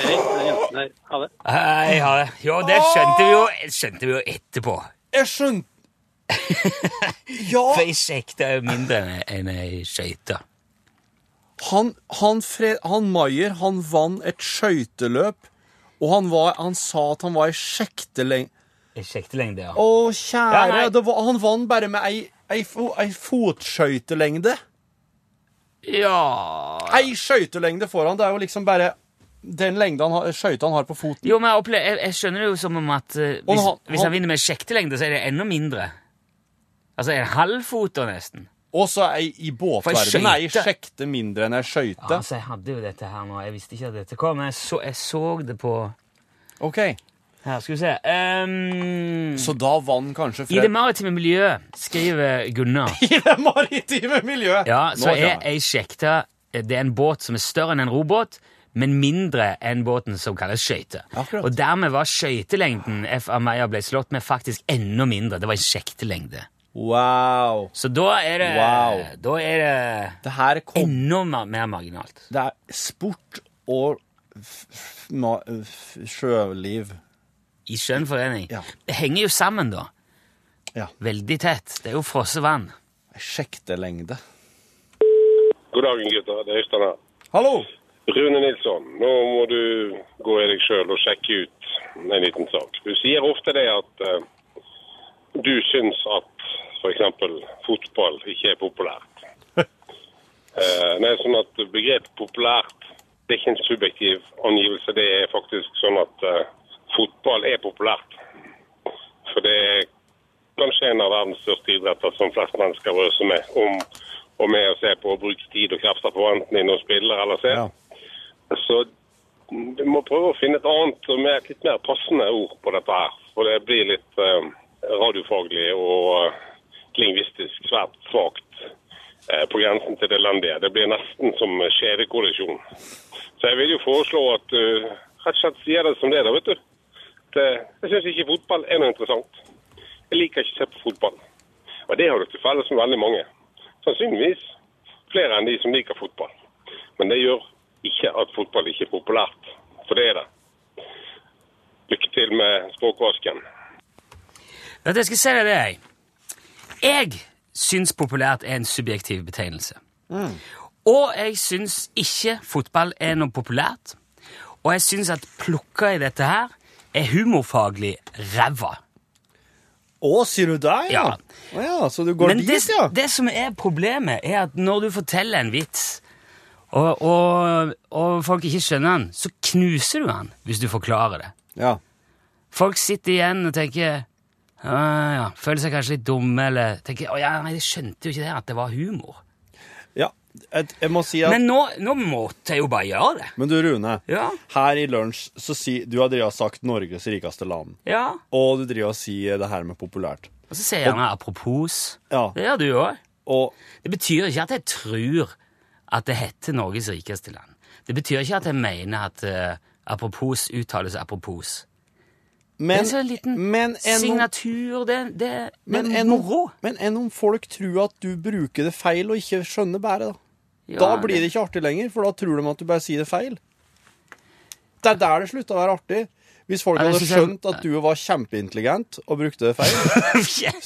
[SPEAKER 6] Hei, den jenten her. Ha det.
[SPEAKER 3] Hei, ha det. Jo, det skjønte vi jo, skjønte vi jo etterpå.
[SPEAKER 4] Jeg skjønte Ja,
[SPEAKER 3] For ei sekte er jo mindre enn- enn ei skøyte.
[SPEAKER 4] han, han, Fred, han Maier, han vant et skøyteløp, og han, var, han sa at han var i sjekteleng...
[SPEAKER 3] Ei sektelengde, ja.
[SPEAKER 4] Å,
[SPEAKER 3] Ja,
[SPEAKER 4] kjære,
[SPEAKER 3] nei.
[SPEAKER 4] det var, han vant bare med ei, ei, fo- ei fotskøytelengde.
[SPEAKER 3] Ja
[SPEAKER 4] Ei skøytelengde foran, det er jo liksom bare den lengden han har, skøyta han har på foten.
[SPEAKER 3] Jo, men jeg, opple- jeg, jeg skjønner det jo som om at eh,
[SPEAKER 4] Og
[SPEAKER 3] hvis,
[SPEAKER 4] han-
[SPEAKER 3] hvis han
[SPEAKER 4] han-
[SPEAKER 3] vinner med sjektelengde, så er det enda mindre. Altså en halv fot da, nesten.
[SPEAKER 4] Og så ei i båtverdenen er ei
[SPEAKER 3] skøyte.
[SPEAKER 4] sjekte mindre enn ei skøyte.
[SPEAKER 3] Altså, jeg hadde jo dette her nå. Jeg visste ikke at dette kom. men Jeg så, jeg så det på altså.
[SPEAKER 4] Ok,
[SPEAKER 3] Her, skal vi se. Ehm,
[SPEAKER 4] så da vann kanskje
[SPEAKER 3] I det
[SPEAKER 4] Fred
[SPEAKER 3] maritime miljøet, skriver Gunnar
[SPEAKER 4] I det maritime miljøet!
[SPEAKER 3] Ja,
[SPEAKER 4] Nå
[SPEAKER 3] så er
[SPEAKER 4] skjønner jeg.
[SPEAKER 3] ei sjekte Det er en båt som er større enn en robåt, men mindre enn båten som kalles skøyte.
[SPEAKER 4] Akkurat.
[SPEAKER 3] Og dermed var skøytelengden F.A. Meyer ble slått med, faktisk enda mindre. Det var en sjektelengde.
[SPEAKER 4] Wow.
[SPEAKER 3] Så da er det
[SPEAKER 4] Wow.
[SPEAKER 3] Da er det
[SPEAKER 4] Det her kom
[SPEAKER 3] enda ma- mer marginalt.
[SPEAKER 4] Det er sport og f f ma- f sjøliv.
[SPEAKER 3] I skjønn forening.
[SPEAKER 4] Ja.
[SPEAKER 3] Det henger jo sammen, da.
[SPEAKER 4] Ja.
[SPEAKER 3] Veldig tett. Det er jo frosset vann.
[SPEAKER 4] Ei sjektelengde.
[SPEAKER 7] God dagen, gutter. Det er Øystein her.
[SPEAKER 4] Hallo!
[SPEAKER 7] Rune Nilsson, nå må du gå i deg sjøl og sjekke ut en liten sak. Du sier ofte det at eh, du syns at f.eks. fotball ikke er populært. Eh, nei, sånn at begrepet populært det er ikke en subjektiv angivelse. Det er faktisk sånn at eh, fotball er populært. For det er kanskje en av verdens største idretter som flest mennesker røser med om og med å se på og bruke tid og krefter på enten inne og spiller eller ser.
[SPEAKER 4] Ja.
[SPEAKER 7] Så vi må prøve å finne et annet og mer, litt mer passende ord på dette her. For det blir litt eh, radiofaglig og eh, lingvistisk svært svakt eh, på grensen til det elendige. Det blir nesten som skjedekollisjon. Så jeg vil jo foreslå at du rett og slett sier det som det er, da, vet du. At, eh, jeg syns ikke fotball er noe interessant. Jeg liker ikke å se på fotball. Og det har du til felles med veldig mange. Sannsynligvis flere enn de som liker fotball. Men det gjør ikke at fotball ikke er populært, for det er det. Lykke til med språkvasken.
[SPEAKER 3] Vet du, jeg skal si deg det, jeg. Jeg syns populært er en subjektiv betegnelse.
[SPEAKER 4] Mm.
[SPEAKER 3] Og jeg syns ikke fotball er noe populært. Og jeg syns at plukka i dette her er humorfaglig ræva.
[SPEAKER 4] Å, sier du der, ja?
[SPEAKER 3] Ja.
[SPEAKER 4] Å ja, så du går
[SPEAKER 3] Men
[SPEAKER 4] dit,
[SPEAKER 3] det,
[SPEAKER 4] ja?
[SPEAKER 3] det som er problemet, er at når du forteller en vits, og, og, og folk ikke skjønner den, så knuser du den hvis du forklarer det.
[SPEAKER 4] Ja.
[SPEAKER 3] Folk sitter igjen og tenker ja, ja, føler seg kanskje litt dumme, eller tenker å ja, nei, de skjønte jo ikke det, at det var humor.
[SPEAKER 4] ja. Jeg, jeg må si at
[SPEAKER 3] Men nå, nå måtte jeg jo bare gjøre det.
[SPEAKER 4] Men du, Rune.
[SPEAKER 3] Ja.
[SPEAKER 4] Her i lunsj så si Du har drevet og sagt Norges rikeste land.
[SPEAKER 3] Ja,
[SPEAKER 4] Og du driver og sier det her med populært.
[SPEAKER 3] Og så sier jeg gjerne apropos.
[SPEAKER 4] Ja.
[SPEAKER 3] Det gjør du òg.
[SPEAKER 4] Og
[SPEAKER 3] Det betyr ikke at jeg tror at det heter Norges rikeste land. Det betyr ikke at jeg mener at eh, apropos uttales apropos.
[SPEAKER 4] Men,
[SPEAKER 3] det er så en liten
[SPEAKER 4] men enn om-
[SPEAKER 3] signatur, det, det,
[SPEAKER 4] men
[SPEAKER 3] det er
[SPEAKER 4] enn om-
[SPEAKER 3] moro.
[SPEAKER 4] Men enn om folk tror at du bruker det feil og ikke skjønner bæret, da?
[SPEAKER 3] Ja,
[SPEAKER 4] da blir det ikke artig lenger, for da tror de at du bare sier det feil. Det er der det slutter å være artig. Hvis folk
[SPEAKER 3] Nei, jeg
[SPEAKER 4] hadde
[SPEAKER 3] synes jeg-
[SPEAKER 4] skjønt at du var kjempeintelligent og brukte det feil,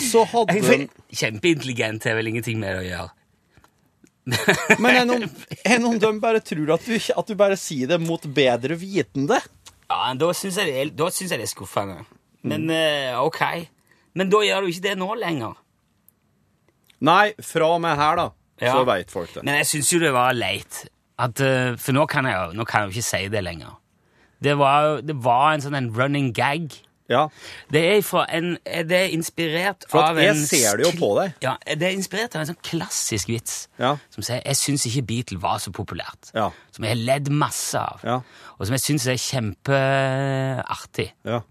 [SPEAKER 4] så hadde
[SPEAKER 3] Jeg
[SPEAKER 4] de
[SPEAKER 3] fin- Kjempeintelligent er vel ingenting med det å gjøre.
[SPEAKER 4] Men enn om, enn om de bare tror at du, ikke- at du bare sier det mot bedre vitende?
[SPEAKER 3] Ja, men Da syns jeg, det er- da synes jeg det er skuffende.
[SPEAKER 4] Mm.
[SPEAKER 3] Men eh, ok. Men da gjør du ikke det nå lenger.
[SPEAKER 4] Nei, fra og med her, da,
[SPEAKER 3] Ja.
[SPEAKER 4] så veit folk det.
[SPEAKER 3] Men jeg syns jo det var leit. At, eh, for nå kan, jeg, jo- nå kan jeg jo ikke si det lenger. Det var, jo- det var en sånn en running gag.
[SPEAKER 4] Ja.
[SPEAKER 3] Det er, fra en, det er inspirert
[SPEAKER 4] For at
[SPEAKER 3] av
[SPEAKER 4] jeg
[SPEAKER 3] en
[SPEAKER 4] ser det jo
[SPEAKER 3] skri-
[SPEAKER 4] på deg.
[SPEAKER 3] Ja, det er inspirert av en sånn klassisk vits
[SPEAKER 4] Ja.
[SPEAKER 3] som sier 'Jeg syns ikke Beatle var så populært'.
[SPEAKER 4] Ja.
[SPEAKER 3] Som jeg har ledd masse av,
[SPEAKER 4] Ja.
[SPEAKER 3] og som jeg syns er kjempeartig.
[SPEAKER 4] ja.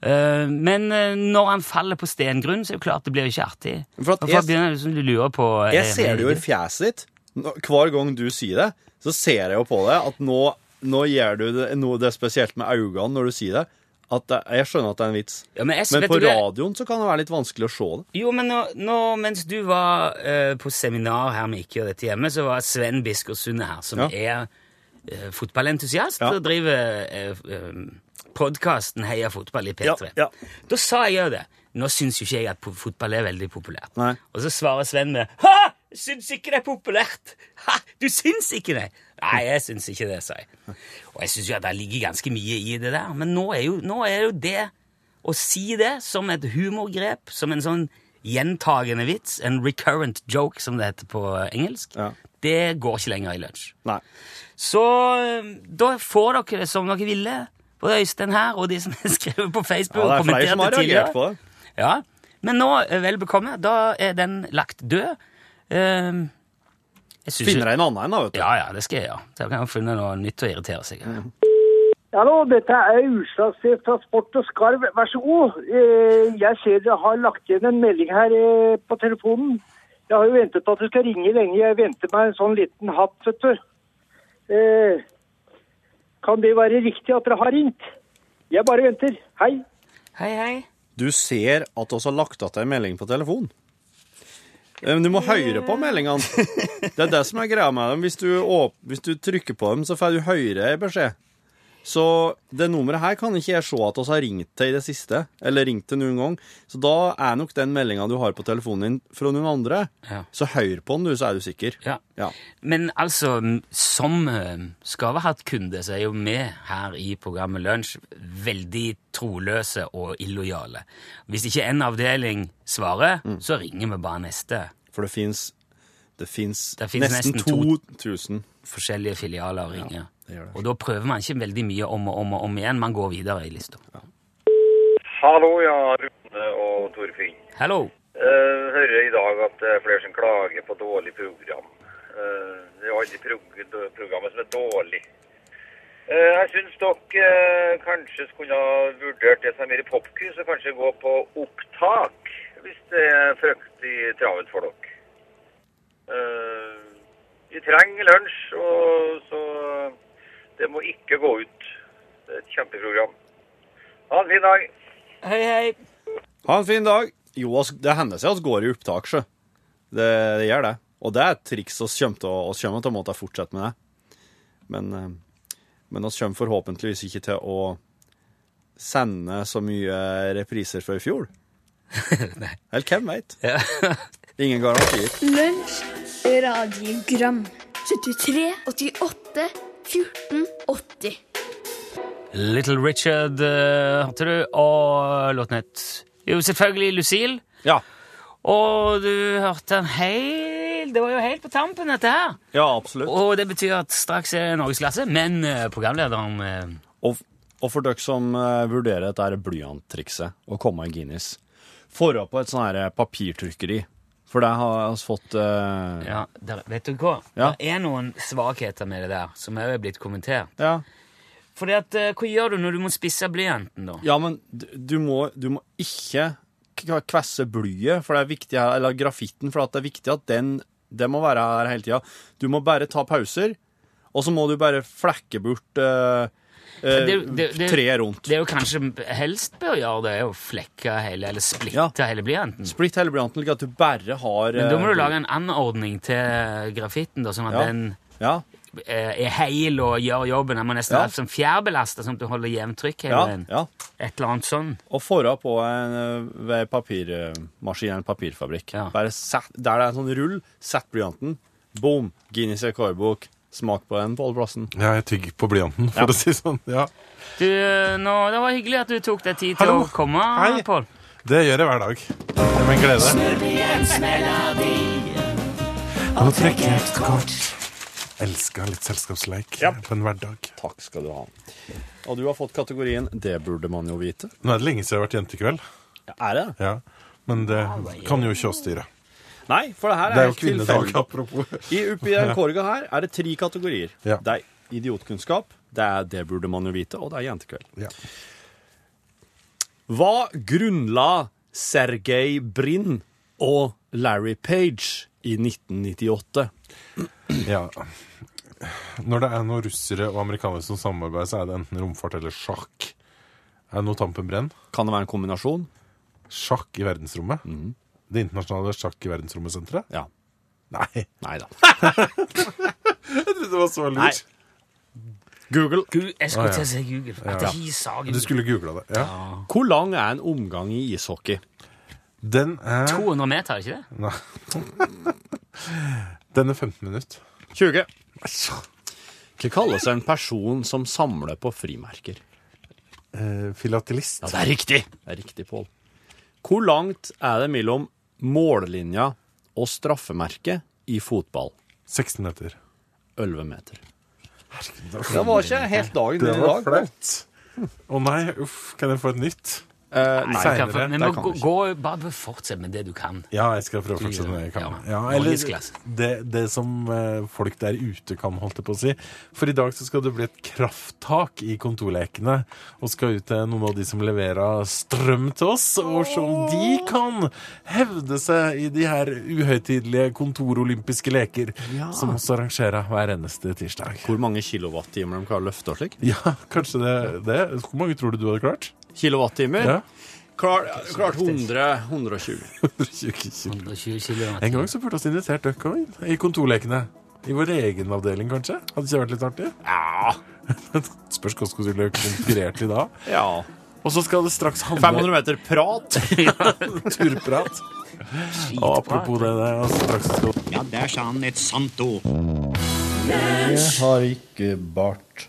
[SPEAKER 3] Eh, men eh, når han faller på stengrunn, så er det klart det blir ikke artig.
[SPEAKER 4] For at
[SPEAKER 3] Og
[SPEAKER 4] jeg-
[SPEAKER 3] folk begynner liksom å lure på eh,
[SPEAKER 4] Jeg ser det jo i
[SPEAKER 3] det-
[SPEAKER 4] fjeset ditt. Nå- Hver gang du sier det, så ser jeg jo på deg at nå, nå gjør du det, noe det er spesielt med øynene når du sier det. At det, jeg skjønner at det er en vits.
[SPEAKER 3] Ja, men jeg-
[SPEAKER 4] men
[SPEAKER 3] vet
[SPEAKER 4] på
[SPEAKER 3] du det-
[SPEAKER 4] radioen så kan det være litt vanskelig å se det.
[SPEAKER 3] Jo, men nå, nå mens du var eh, på seminar her med Ikke gjør dette hjemme, så var Sven Biskersund her, som
[SPEAKER 4] Ja.
[SPEAKER 3] er eh, fotballentusiast
[SPEAKER 4] Ja.
[SPEAKER 3] og driver uh, podkasten Heia fotball i P3.
[SPEAKER 4] Ja, ja.
[SPEAKER 3] Da sa jeg jo det. Nå syns jo ikke jeg at po- fotball er veldig populært.
[SPEAKER 4] Nei.
[SPEAKER 3] Og så svarer Sven med Ha! Syns ikke det er populært! Ha! Du syns ikke det! Nei, jeg syns ikke det, sa jeg. Og jeg syns jo at det ligger ganske mye i det der, men nå er jo, nå er jo det å si det som et humorgrep, som en sånn gjentagende vits, en recurrent joke, som det heter på engelsk,
[SPEAKER 4] Ja.
[SPEAKER 3] det går ikke lenger i lunsj.
[SPEAKER 4] Nei.
[SPEAKER 3] Så eh, da får dere det som dere ville. Både Øystein her og de som har skrevet på Facebook.
[SPEAKER 4] Ja,
[SPEAKER 3] og
[SPEAKER 4] det er flere
[SPEAKER 3] kommentert
[SPEAKER 4] som har
[SPEAKER 3] tidligere.
[SPEAKER 4] reagert på det.
[SPEAKER 3] Ja, Men nå, eh, vel bekomme, da er den lagt død. Eh, jeg synes
[SPEAKER 4] Finner jeg en annen en, da, vet du.
[SPEAKER 3] Ja, ja, det skal jeg gjøre. Så jeg kan finne noe nytt å irritere seg over.
[SPEAKER 8] Hallo, dette er Urslagsdel fra Sport og Skarv. Vær så god. Eh, Jeg ser dere har lagt igjen en melding her eh, på telefonen. Jeg har jo ventet på at du skal ringe lenge. Jeg venter meg en sånn liten hatt, vet du. Eh, Kan det være riktig at dere har ringt? Jeg bare venter. Hei.
[SPEAKER 3] Hei, hei.
[SPEAKER 4] Du ser at oss har lagt igjen en melding på telefon. Eh, Men du må høre på meldingene. Det er det som er greia med dem. Hvis du, åp hvis du trykker på dem, så får du høre en beskjed. Så det nummeret her kan ikke jeg se at oss har ringt til i det siste, eller ringt til noen gang. Så da er nok den meldinga du har på telefonen din fra noen andre,
[SPEAKER 3] Ja.
[SPEAKER 4] så hør på den du, så er du sikker.
[SPEAKER 3] Ja.
[SPEAKER 4] Ja.
[SPEAKER 3] Men altså, m- som eh, skarvehattkunde så er jo vi her i programmet Lunsj veldig troløse og illojale. Hvis ikke en avdeling svarer,
[SPEAKER 4] Mm.
[SPEAKER 3] så ringer vi bare neste.
[SPEAKER 4] For det fins det fins
[SPEAKER 3] Det finnes
[SPEAKER 4] nesten
[SPEAKER 3] nesten
[SPEAKER 4] 2000
[SPEAKER 3] Forskjellige filialer og ringer.
[SPEAKER 4] det gjør det.
[SPEAKER 3] og da prøver man ikke veldig mye om og om og om igjen. Man går videre i lista.
[SPEAKER 9] Hallo, ja, Rune eh, og Torfinn.
[SPEAKER 3] Hallo!
[SPEAKER 9] Eh, hører i dag at det er flere som klager på dårlig program. Eh, det er jo aldri prog programmet som er dårlig. Eh, jeg syns dere eh, kanskje skulle ha vurdert det som er mer popkurs, og kanskje gå på opptak, hvis det er fryktelig travelt for dere. Eh, vi trenger lunsj, og så eh, det må ikke gå ut. Det er et kjempeprogram. Ha en fin dag.
[SPEAKER 3] Hei, hei!
[SPEAKER 4] Ha en fin dag. Jo, ass, det hender seg at vi går i opptak, sjø. Det, det gjør det. Og det er et triks vi kommer til å oss kommer til å måtte fortsette med. det. Men eh, men oss kommer forhåpentligvis ikke til å sende så mye repriser fra i fjor. Eller hvem veit? Ingen garantier.
[SPEAKER 5] Lunsj radiogram 73 88 14 80
[SPEAKER 3] Little Richard, eh, hørte du, og låten het jo selvfølgelig Lucille.
[SPEAKER 4] Ja,
[SPEAKER 3] Og du hørte den helt Det var jo helt på tampen, dette her.
[SPEAKER 4] ja absolutt.
[SPEAKER 3] Og det betyr at straks er det norgesklasse, men eh, programlederen eh,
[SPEAKER 4] Og, og for dere som eh, vurderer dette her blyanttrikset, å komme i Guinness, få opp på et sånn her papirtrykkeri. For det har vi fått eh,
[SPEAKER 3] ja, der, Vet du hva?
[SPEAKER 4] Ja.
[SPEAKER 3] Det er noen svakheter med det der, som òg er blitt kommentert.
[SPEAKER 4] ja.
[SPEAKER 3] Fordi at, eh, Hva gjør du når du må spisse blyanten, da?
[SPEAKER 4] Ja, men du, du, må, du må ikke k- kvesse blyet, for det er viktig, her- eller grafitten, for at det er viktig at den det må være her hele tida. Du må bare ta pauser, og så må du bare flekke bort eh, eh,
[SPEAKER 3] Det- det- det-
[SPEAKER 4] treet rundt.
[SPEAKER 3] Det er jo kanskje helst bør gjøre det, er å flekke hele, eller splitte
[SPEAKER 4] Ja.
[SPEAKER 3] hele blyanten.
[SPEAKER 4] Splitt hele blyanten slik at du bare har
[SPEAKER 3] Men da må
[SPEAKER 4] eh,
[SPEAKER 3] du lage en anordning til grafitten, da, sånn at
[SPEAKER 4] Ja.
[SPEAKER 3] den
[SPEAKER 4] Ja.
[SPEAKER 3] eh, er heil og gjør jobben. Han må nesten
[SPEAKER 4] Ja.
[SPEAKER 3] være som fjærbelasta, sånn at du holder jevnt trykk hele
[SPEAKER 4] Ja,
[SPEAKER 3] veien.
[SPEAKER 4] ja.
[SPEAKER 3] Et eller annet sånn.
[SPEAKER 4] Og forra på en ø, ved papirmaskin, en papirfabrikk. Bare sett, der det er en sånn rull, sett blyanten, boom, Guinness rekordbok, smak på den på holdplassen.
[SPEAKER 8] Ja, jeg tygger på blyanten, for
[SPEAKER 4] Ja.
[SPEAKER 8] å si det sånn. Ja.
[SPEAKER 3] Du, nå, det var hyggelig at du tok deg tid til
[SPEAKER 8] Hallo.
[SPEAKER 3] å komme,
[SPEAKER 8] Hei.
[SPEAKER 3] Pål.
[SPEAKER 8] Det gjør jeg hver dag. Det er en glede. Nå trekker jeg et kort. Elsker litt selskapsleik på en hverdag.
[SPEAKER 4] Takk skal du ha. Og du har fått kategorien 'Det burde man jo vite'.
[SPEAKER 8] Nå er det lenge siden jeg har vært jentekveld.
[SPEAKER 4] Er det?
[SPEAKER 8] Ja. Men det kan jo ikke oss styre.
[SPEAKER 4] Nei, for det her
[SPEAKER 8] Ah, Det er
[SPEAKER 4] er,
[SPEAKER 8] jo
[SPEAKER 4] helt
[SPEAKER 8] kvinnedag,
[SPEAKER 4] tilfeldig.
[SPEAKER 8] apropos.
[SPEAKER 4] I oppi den korga her er det tre kategorier.
[SPEAKER 8] Ja.
[SPEAKER 4] Det er idiotkunnskap, det er 'Det burde man jo vite', og det er jentekveld.
[SPEAKER 8] Ja.
[SPEAKER 4] Hva grunnla Sergej Brin og Larry Page i 1998?
[SPEAKER 8] Ja. Når det er noen russere og amerikanere som samarbeider, så er det enten romfart eller sjakk. Er det noe tampenbrenn?
[SPEAKER 4] Kan det være en kombinasjon?
[SPEAKER 8] Sjakk i verdensrommet? Det internasjonale sjakk i verdensrommet-senteret?
[SPEAKER 4] Ja.
[SPEAKER 8] Nei.
[SPEAKER 4] Nei da.
[SPEAKER 8] Jeg trodde det var så
[SPEAKER 4] Nei.
[SPEAKER 8] lurt.
[SPEAKER 4] Google.
[SPEAKER 3] Gud, jeg
[SPEAKER 8] Å,
[SPEAKER 3] skulle
[SPEAKER 8] ja.
[SPEAKER 3] til å si Google. At
[SPEAKER 8] Ja.
[SPEAKER 3] de sa
[SPEAKER 8] Du
[SPEAKER 3] Google.
[SPEAKER 8] skulle googla det. Ja.
[SPEAKER 4] Hvor lang er en omgang i ishockey?
[SPEAKER 8] Den er
[SPEAKER 3] 200 meter, ikke det?
[SPEAKER 8] Nei. Den er 15 minutter.
[SPEAKER 4] 20. Altså, Hva kalles en person som samler på frimerker?
[SPEAKER 8] Eh, filatelist.
[SPEAKER 4] det er riktig! Det er riktig, Pål. Hvor langt er det mellom mållinja og straffemerket i fotball?
[SPEAKER 8] 16 meter.
[SPEAKER 4] 11 meter.
[SPEAKER 8] Det
[SPEAKER 4] var ikke helt dagen
[SPEAKER 8] Det var flaut. Å nei, uff. Kan jeg få et nytt?
[SPEAKER 3] Nei,
[SPEAKER 8] senere,
[SPEAKER 3] kan- men
[SPEAKER 8] det
[SPEAKER 3] må
[SPEAKER 8] kan
[SPEAKER 3] gå,
[SPEAKER 8] vi ikke.
[SPEAKER 3] gå, bare fortsett med det du kan.
[SPEAKER 8] Ja, jeg skal prøve å fortsette med det jeg kan.
[SPEAKER 3] Ja.
[SPEAKER 8] Ja, eller
[SPEAKER 3] Norgesklasse.
[SPEAKER 8] det, det som eh, folk der ute kan, holdt jeg på å si. For i dag så skal det bli et krafttak i kontorlekene, og skal ut til noen av de som leverer strøm til oss, og se om de kan hevde seg i de her uhøytidelige kontorolympiske leker som også arrangerer hver eneste tirsdag.
[SPEAKER 4] Hvor mange kilowattimer de klarer å løfte og slik?
[SPEAKER 8] Ja, kanskje det, det. Hvor mange tror du du hadde klart?
[SPEAKER 4] Kilowattimer?
[SPEAKER 8] Ja.
[SPEAKER 4] Klar, klart 100, 120.
[SPEAKER 8] 20 kilo.
[SPEAKER 3] 120 km.
[SPEAKER 8] En gang så burde vi invitert dere også inn i kontorlekene. I vår egen avdeling, kanskje? Hadde ikke det vært litt artig? Ja. Spørs hvordan skulle du konkurrert i da.
[SPEAKER 4] Ja.
[SPEAKER 8] Og så skal det straks handle
[SPEAKER 4] 500 meter prat.
[SPEAKER 8] om turprat. Og apropos det der, altså, straks skal
[SPEAKER 10] Ja, der sa han et sant ord.
[SPEAKER 11] Jeg har ikke bart.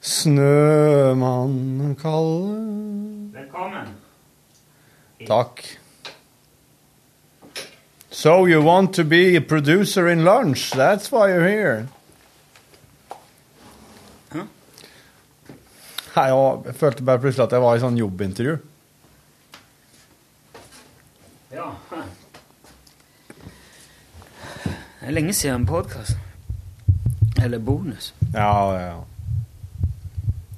[SPEAKER 11] Snømann kaller
[SPEAKER 3] Velkommen.
[SPEAKER 11] Takk. So you want to be a producer in lunch? That's why you're here. Hei, og jeg følte bare plutselig at jeg var i sånn jobbintervju.
[SPEAKER 3] Ja. Det er lenge siden en podkast. Eller bonus.
[SPEAKER 11] Ja, ja, ja.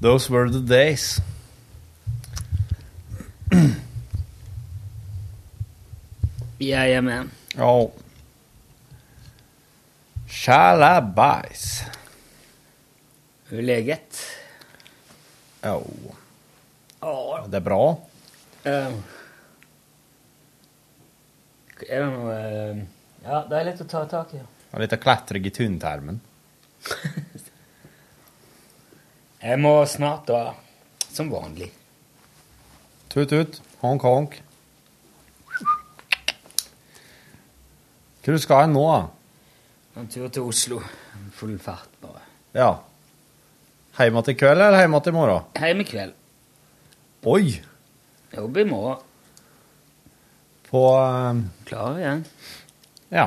[SPEAKER 11] Those were the days.
[SPEAKER 3] Ja, ja, men.
[SPEAKER 11] Oh. Shalabais.
[SPEAKER 3] Leget.
[SPEAKER 11] Oh. Det er bra.
[SPEAKER 3] Eh, Er det noe eh, Ja, det er litt å ta tak i. ja.
[SPEAKER 11] Og litt klatring i tynntarmen.
[SPEAKER 3] Jeg må snart da, som vanlig.
[SPEAKER 11] Tut-tut. Honk-honk. Hvor skal en nå, da?
[SPEAKER 3] En tur til Oslo. Full fart, bare.
[SPEAKER 11] Ja. Hjemme til kveld eller hjemme til morgen?
[SPEAKER 3] Hjem i kveld.
[SPEAKER 11] Oi!
[SPEAKER 3] Jobb i morgen.
[SPEAKER 11] På eh,
[SPEAKER 3] Klar igjen.
[SPEAKER 11] Ja.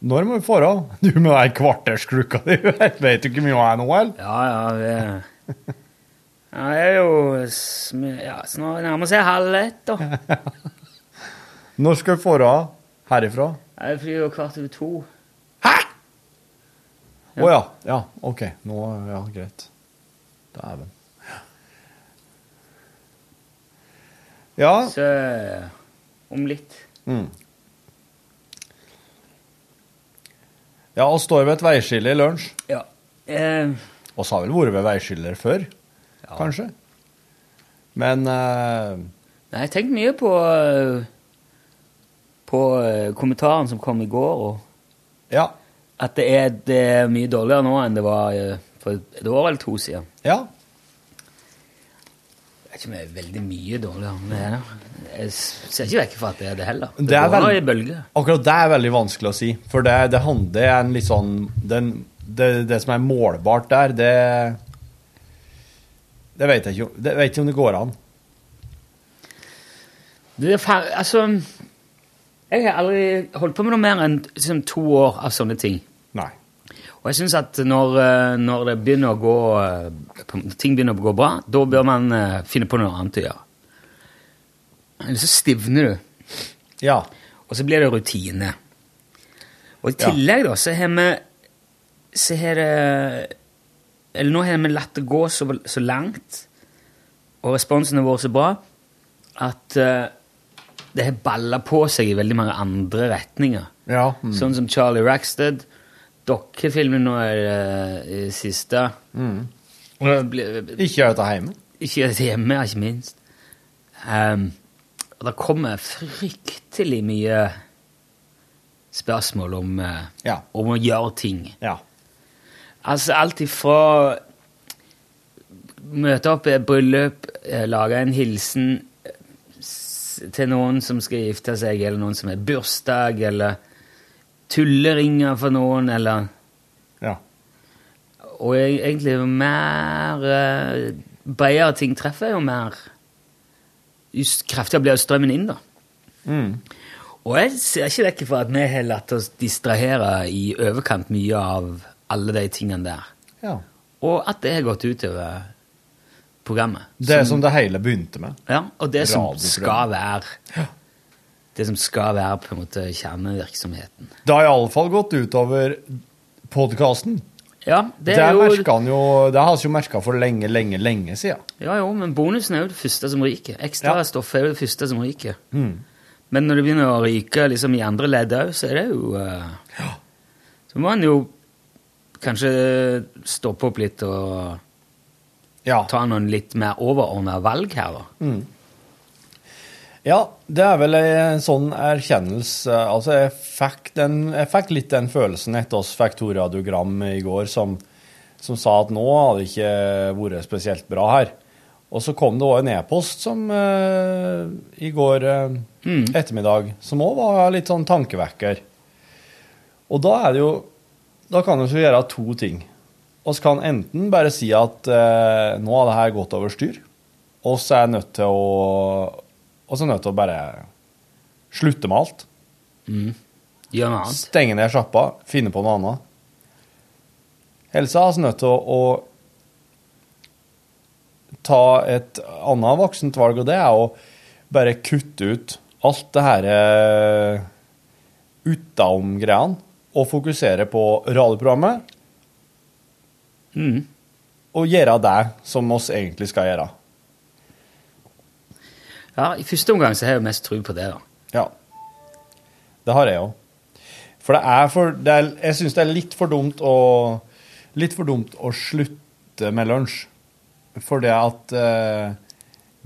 [SPEAKER 11] Når må vi dra? Du med den kvartersklukka di, vet du ikke mye om jeg nå, eller?
[SPEAKER 3] Ja, ja, det ja, Jeg er jo sm ja, snart nærmer seg halv ett, da.
[SPEAKER 11] Når skal vi dra herifra?
[SPEAKER 3] Jeg flyr jo kvart over to.
[SPEAKER 11] Å ja. ja. Ok. Nå Ja, greit. Dæven. Ja.
[SPEAKER 3] Så eh, om litt.
[SPEAKER 11] ja, og står ved et veiskille i lunsj.
[SPEAKER 3] Ja. Eh,
[SPEAKER 11] Vi har vel vært ved veiskiller før, kanskje. Men eh,
[SPEAKER 3] Nei, jeg har tenkt mye på eh, På eh, kommentaren som kom i går, og
[SPEAKER 11] ja.
[SPEAKER 3] At det er, det er mye dårligere nå enn det var eh, for et år eller to siden.
[SPEAKER 4] Ja.
[SPEAKER 3] Det er ikke mye, veldig mye dårligere. Men det er det. jeg s- ser ikke vekk fra at det er det heller.
[SPEAKER 4] Det er
[SPEAKER 3] går nå
[SPEAKER 4] veld-
[SPEAKER 3] i bølger.
[SPEAKER 4] Akkurat det er veldig vanskelig å si. For det, det, hand- det er en litt sånn den, det, det som er målbart der, det Det vet jeg ikke, om- det vet ikke om det går an.
[SPEAKER 3] Det er fa altså, jeg har aldri holdt på med noe mer enn liksom, to år av sånne ting.
[SPEAKER 4] Nei.
[SPEAKER 3] Og jeg syns at når, eh, når det begynner å gå, eh, på- når ting begynner å gå bra, da bør man eh, finne på noe annet å gjøre. Eller så stivner du.
[SPEAKER 4] Ja.
[SPEAKER 3] Og så blir det rutine. Og i
[SPEAKER 4] Ja.
[SPEAKER 3] tillegg da, så har vi så har det Eller nå har vi latt det gå så, så langt, og responsen har vært så bra, at eh, det har balla på seg i veldig mange andre retninger.
[SPEAKER 4] Ja. Mm.
[SPEAKER 3] Sånn som Charlie Rackstead. Dokkefilmen nå er det eh, siste.
[SPEAKER 4] Mm.
[SPEAKER 3] Ikke
[SPEAKER 4] gjør dette hjemme.
[SPEAKER 3] Ikke gjør dette hjemme, ja, ikke minst. Ehm, og det kommer fryktelig mye spørsmål om, eh, om å gjøre ting. Altså alt ifra møte opp i et bryllup, eh, lage en hilsen eh, s- til noen som skal gifte seg, eller noen som har bursdag, eller tulleringer for noen, eller
[SPEAKER 4] Ja.
[SPEAKER 3] Og jeg, egentlig jo mer eh, bredere ting treffer, jo mer jo s- kraftigere blir strømmen inn, da. Mm. Og jeg ser ikke vekk fra at vi har latt oss distrahere i overkant mye av alle de tingene der.
[SPEAKER 4] Ja.
[SPEAKER 3] Og at det har gått utover programmet.
[SPEAKER 4] Det er som det hele begynte med.
[SPEAKER 3] Ja, og det som skal
[SPEAKER 4] Radioprogram.
[SPEAKER 3] være Det som skal være på en måte kjernevirksomheten.
[SPEAKER 4] Det har iallfall gått utover podkasten.
[SPEAKER 3] Ja,
[SPEAKER 4] Det,
[SPEAKER 3] det er jo
[SPEAKER 4] merket han jo, det har vi jo merka for lenge, lenge, lenge siden.
[SPEAKER 3] Ja, jo, men bonusen er jo det første som ryker. Ekstra stoff er jo det første som ryker.
[SPEAKER 4] Mm.
[SPEAKER 3] Men når det begynner å ryke liksom, i andre ledd òg, så er det jo eh, Så må en jo kanskje stoppe opp litt og ta noen litt mer overordna valg her, da.
[SPEAKER 4] Mm. Ja, det er vel en sånn erkjennelse Altså, jeg fikk, den, jeg fikk litt den følelsen etter oss fikk to radiogram i går som, som sa at nå hadde det ikke vært spesielt bra her. Og så kom det òg en e-post som eh, i går eh, ettermiddag, som òg var litt sånn tankevekker. Og da er det jo Da kan vi jo gjøre to ting. Vi kan enten bare si at eh, nå har det her gått over styr, og så er jeg nødt til å Og så er jeg nødt til å bare slutte med alt.
[SPEAKER 3] Gjør noe annet.
[SPEAKER 4] Stenge ned sjappa, finne på noe annet. Ellers er vi nødt til å, å ta et annet voksent valg, og det er å bare kutte ut alt det her eh, utenom-greiene og fokusere på radioprogrammet.
[SPEAKER 3] Hmm.
[SPEAKER 4] Og gjøre det som oss egentlig skal gjøre.
[SPEAKER 3] Ja, I første omgang så har jeg jo mest tro på det, da.
[SPEAKER 4] Ja. Det har jeg òg. For det er for det er, Jeg syns det er litt for dumt å Litt for dumt å slutte med lunsj. For det at eh,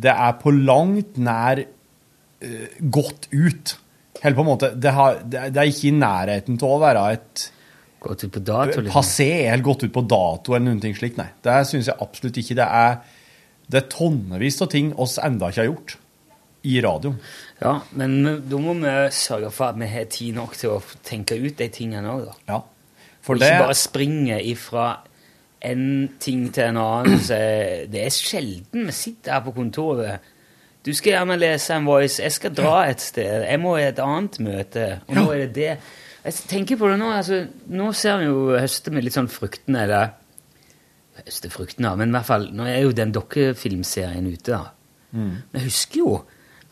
[SPEAKER 4] det er på langt nær eh, godt ut. Helt på en måte Det, har, det, er- det er ikke i nærheten til å være et
[SPEAKER 3] Gått ut på dato? liksom.
[SPEAKER 4] Passé eller gått ut på dato eller noen ting slikt. Nei. Det syns jeg absolutt ikke. Det er, det er tonnevis av ting oss enda ikke har gjort i radioen.
[SPEAKER 3] Ja, men da må vi sørge for at vi har tid nok til å tenke ut de tingene òg, da.
[SPEAKER 4] Ja. For
[SPEAKER 3] og ikke
[SPEAKER 4] det-
[SPEAKER 3] bare springe ifra en ting til en annen. Så det er sjelden vi sitter her på kontoret. Du skal gjerne lese en voice. Jeg skal dra et sted. Jeg må i et annet møte. Og nå er det det. Jeg tenker på det nå. Altså, nå ser vi jo høster med litt sånn fruktene. Eller høstefruktene, men i hvert fall Nå er jo den dokkefilmserien ute, da. Men jeg husker jo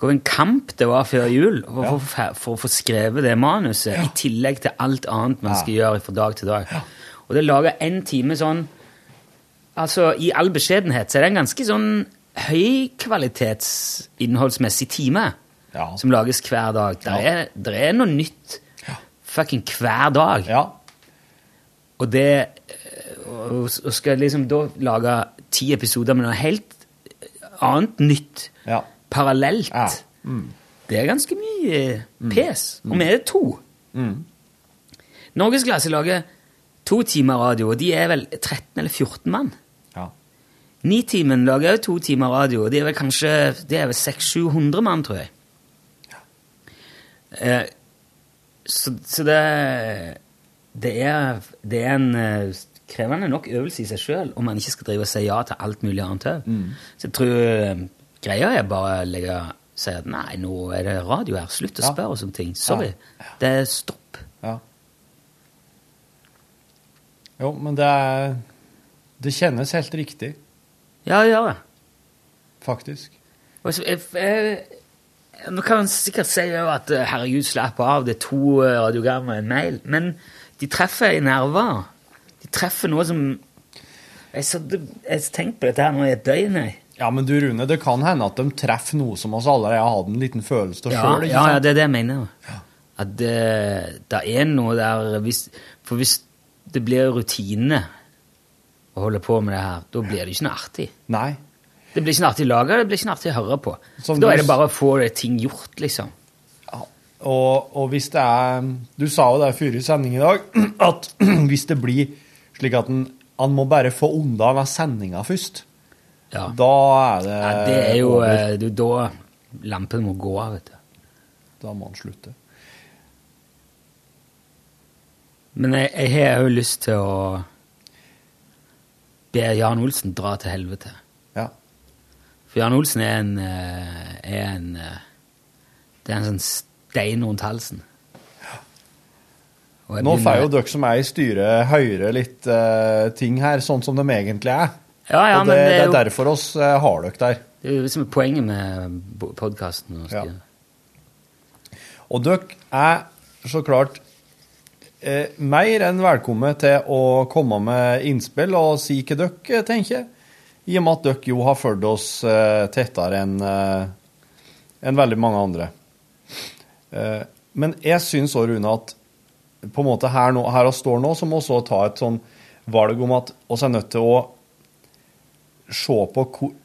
[SPEAKER 3] hvor en kamp det var før jul for, for, for å få skrevet det manuset, i tillegg til alt annet man
[SPEAKER 12] Ja.
[SPEAKER 3] skal gjøre fra dag til dag. Og det laga én time sånn Altså, i all beskjedenhet så er det en ganske sånn høykvalitetsinnholdsmessig time som lages hver dag. Det er, der er noe nytt fucking hver dag. Og det og, og skal liksom da lage ti episoder med noe helt annet nytt parallelt. Det er ganske mye eh, pes. Og vi er to. Norgesklasse lager to timer radio, og de er vel 13 eller 14 mann.
[SPEAKER 4] Ja.
[SPEAKER 3] Nitimen lager jo to timer radio, og de er vel kanskje det er vel 600-700 mann, tror jeg. Eh, så, så det, det, er, det er en eh, krevende nok øvelse i seg sjøl om man ikke skal drive og si ja til alt mulig annet òg. Så jeg tror eh, greia er bare å legge si at nei, nå er det radio her, slutt å spørre oss om ting. Sorry. Det er stopp.
[SPEAKER 4] Jo, men det er Det kjennes helt riktig.
[SPEAKER 3] Ja, det gjør det.
[SPEAKER 4] Faktisk.
[SPEAKER 3] Og så, jeg, jeg, nå kan man sikkert si jo at eh, herregud, slapp av, det er to eh, radiogram og en mail, men de treffer i nerver. De treffer noe som Jeg har tenkt på dette her nå i et døgn. jeg.
[SPEAKER 4] Ja, men du Rune, det kan hende at de treffer noe som oss allerede har hatt en liten følelse av
[SPEAKER 3] Ja,
[SPEAKER 4] sjøl.
[SPEAKER 3] ja, ja, det er det jeg mener. At det, det er noe der hvis, For hvis det blir rutine å holde på med det her, da blir det ikke noe artig.
[SPEAKER 4] Nei.
[SPEAKER 3] Det blir ikke noe artig laga, det blir ikke noe artig å høre på.
[SPEAKER 4] Som
[SPEAKER 3] da
[SPEAKER 4] du
[SPEAKER 3] er
[SPEAKER 4] s-
[SPEAKER 3] det bare å få det ting gjort, liksom.
[SPEAKER 4] Og, og hvis det er Du sa jo det før i sending i dag, at hvis det blir slik at en, han må bare få unna den sendinga først, da er det
[SPEAKER 3] Ja, det er jo
[SPEAKER 4] over.
[SPEAKER 3] eh, det er da lampen må gå av, vet du.
[SPEAKER 4] Da må han slutte.
[SPEAKER 3] Men jeg, jeg har jo lyst til å be Jan Olsen dra til helvete.
[SPEAKER 4] Ja.
[SPEAKER 3] For Jan Olsen er en, eh, er en eh, Det er en sånn stein rundt halsen. Og jeg
[SPEAKER 4] Nå får
[SPEAKER 3] begynner-
[SPEAKER 4] jo dere som er i styret, høre litt eh, ting her, sånn som de egentlig er.
[SPEAKER 3] Ja, ja,
[SPEAKER 4] og
[SPEAKER 3] men
[SPEAKER 4] det,
[SPEAKER 3] det er
[SPEAKER 4] det
[SPEAKER 3] jo-
[SPEAKER 4] er derfor oss eh, har dere der.
[SPEAKER 3] Det er jo liksom poenget med podkasten. Ja.
[SPEAKER 4] Og dere er så klart eh, mer enn velkommen til å komme med innspill og si hva dere tenker, i og med at dere jo har fulgt oss eh, tettere enn eh, enn veldig mange andre. Eh, men jeg syns òg, Rune, at på en måte her, nå, her og står nå, så må vi også ta et sånn valg om at oss er nødt til å se på hvor-